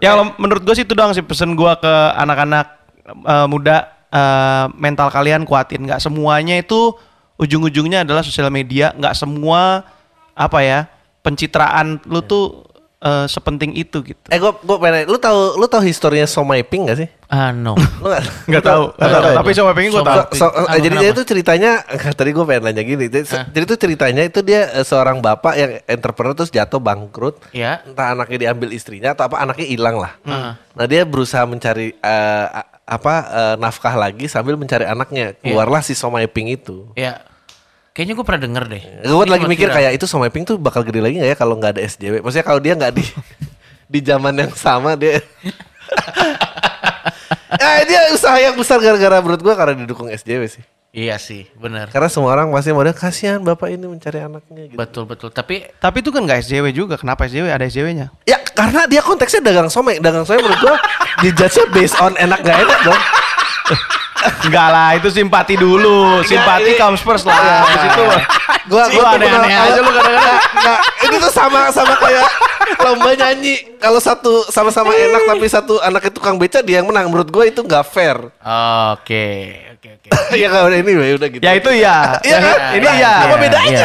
Ya kalau menurut gue sih itu doang sih pesan gue ke anak-anak eh, muda eh, mental kalian kuatin nggak semuanya itu ujung-ujungnya adalah sosial media nggak semua apa ya pencitraan lu tuh eh, sepenting itu gitu. eh gue gue pengen, lu tahu lu tahu historinya Somai Pink gak sih? Ah no. Lu nggak Nggak tahu, nggak tahu. Tapi sama pengen gue Sama- tahu. So- so- Apa, eh, jadi kenapa? dia itu ceritanya tadi gue pengen nanya gini. Jadi, jadi itu ceritanya itu dia eh, seorang bapak yang entrepreneur terus jatuh bangkrut. Ya. Iya. Entah anaknya diambil istrinya atau apa anaknya hilang lah. Hmm. Nah dia berusaha mencari eh, a- apa eh, nafkah lagi sambil mencari Ya. anaknya. Keluarlah si Somai Pink itu. ya. Kayaknya gue pernah denger deh. Gue Ini lagi cuma mikir kira. kayak itu Somai Pink tuh bakal gede lagi nggak ya kalau nggak ada SJW. Maksudnya kalau dia nggak di di zaman yang sama dia. Eh, dia usaha yang besar gara-gara menurut gue karena didukung SJW sih. Iya sih, benar. Karena semua orang pasti model kasihan bapak ini mencari anaknya gitu. Betul, betul. Tapi Tapi itu kan nggak SJW juga. Kenapa SJW ada SJW-nya? Ya karena dia konteksnya dagang somai, dagang somai menurut gua dijudge-nya based on enak gak enak dong. Enggak lah, itu simpati dulu. Simpati ini- comes first lah. Habis itu gua Lu gua tuh aneh-aneh kenal- aja lu kadang-kadang. Nggak, ini tuh sama sama kayak lomba nyanyi. Kalau satu sama-sama enak tapi satu anaknya tukang beca dia yang menang. Menurut gua itu nggak fair. Oke, oke, oke. ya kalau udah ini udah gitu. Ya itu ya. Iya kan? Ini ya. Apa Iya, bedanya?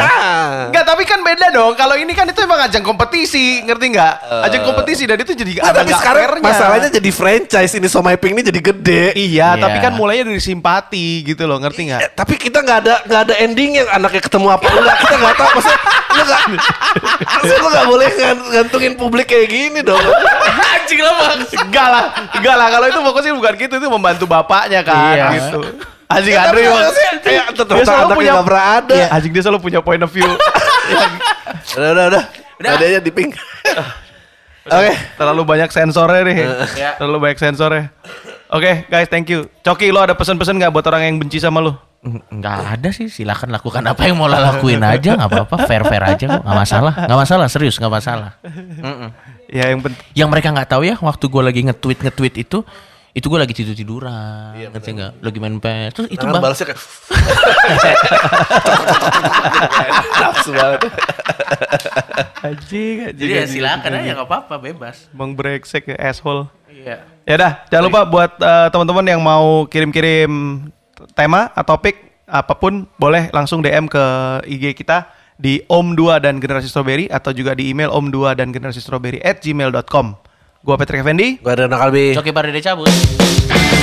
Enggak, tapi kan beda dong. Kalau ini kan itu emang ajang kompetisi, ngerti nggak? Ajang kompetisi dan itu jadi Nah, ada tapi nggak sekarang fairnya. masalahnya jadi franchise ini Somai Pink ini jadi gede. Iya, Iya. tapi kan mulainya dari simpati gitu loh, ngerti nggak? Eh, tapi kita nggak ada nggak ada ending yang anaknya ketemu apa enggak kita nggak tahu maksudnya lu nggak maksudnya lu nggak boleh ngan- ngantungin publik kayak gini dong Anjing lah bang. Enggak lah, enggak lah. Kalau itu fokusnya bukan gitu, itu membantu bapaknya kan. Iya. Gitu. Anjing Ya, Andre tapi emang- maksudnya kayak tetep dia selalu anaknya punya nggak pernah ada. Iya, anjing dia selalu punya point of view. udah udah udah Udah. udah aja di pink oke Terlalu banyak sensornya nih. Iya. Terlalu banyak sensornya. Oke, guys, thank you. Coki, lo ada pesan-pesan nggak buat orang yang benci sama lo? Nggak ada sih, silahkan lakukan apa yang mau lah lakuin aja, nggak apa-apa, fair-fair aja kok, nggak masalah, nggak masalah, serius nggak masalah. Ya yang penting. Yang mereka nggak tahu ya, waktu gue lagi nge-tweet nge-tweet itu, itu gue lagi tidur tiduran, ngerti nggak? Lagi main PS, terus itu Tangan bang, balasnya kayak nafsu banget Anjing, anjing. jadi ya anjing. silakan aja nggak apa-apa, bebas. Bang brengsek ya, asshole. Iya. Ya dah, jangan lupa buat eh, teman-teman yang mau kirim-kirim tema atau topik apapun boleh langsung DM ke IG kita di om2 dan generasi strawberry atau juga di email om2 dan generasi strawberry at gmail.com. Gua Patrick Effendi. gue ada nakal bi Coki Parade cabut.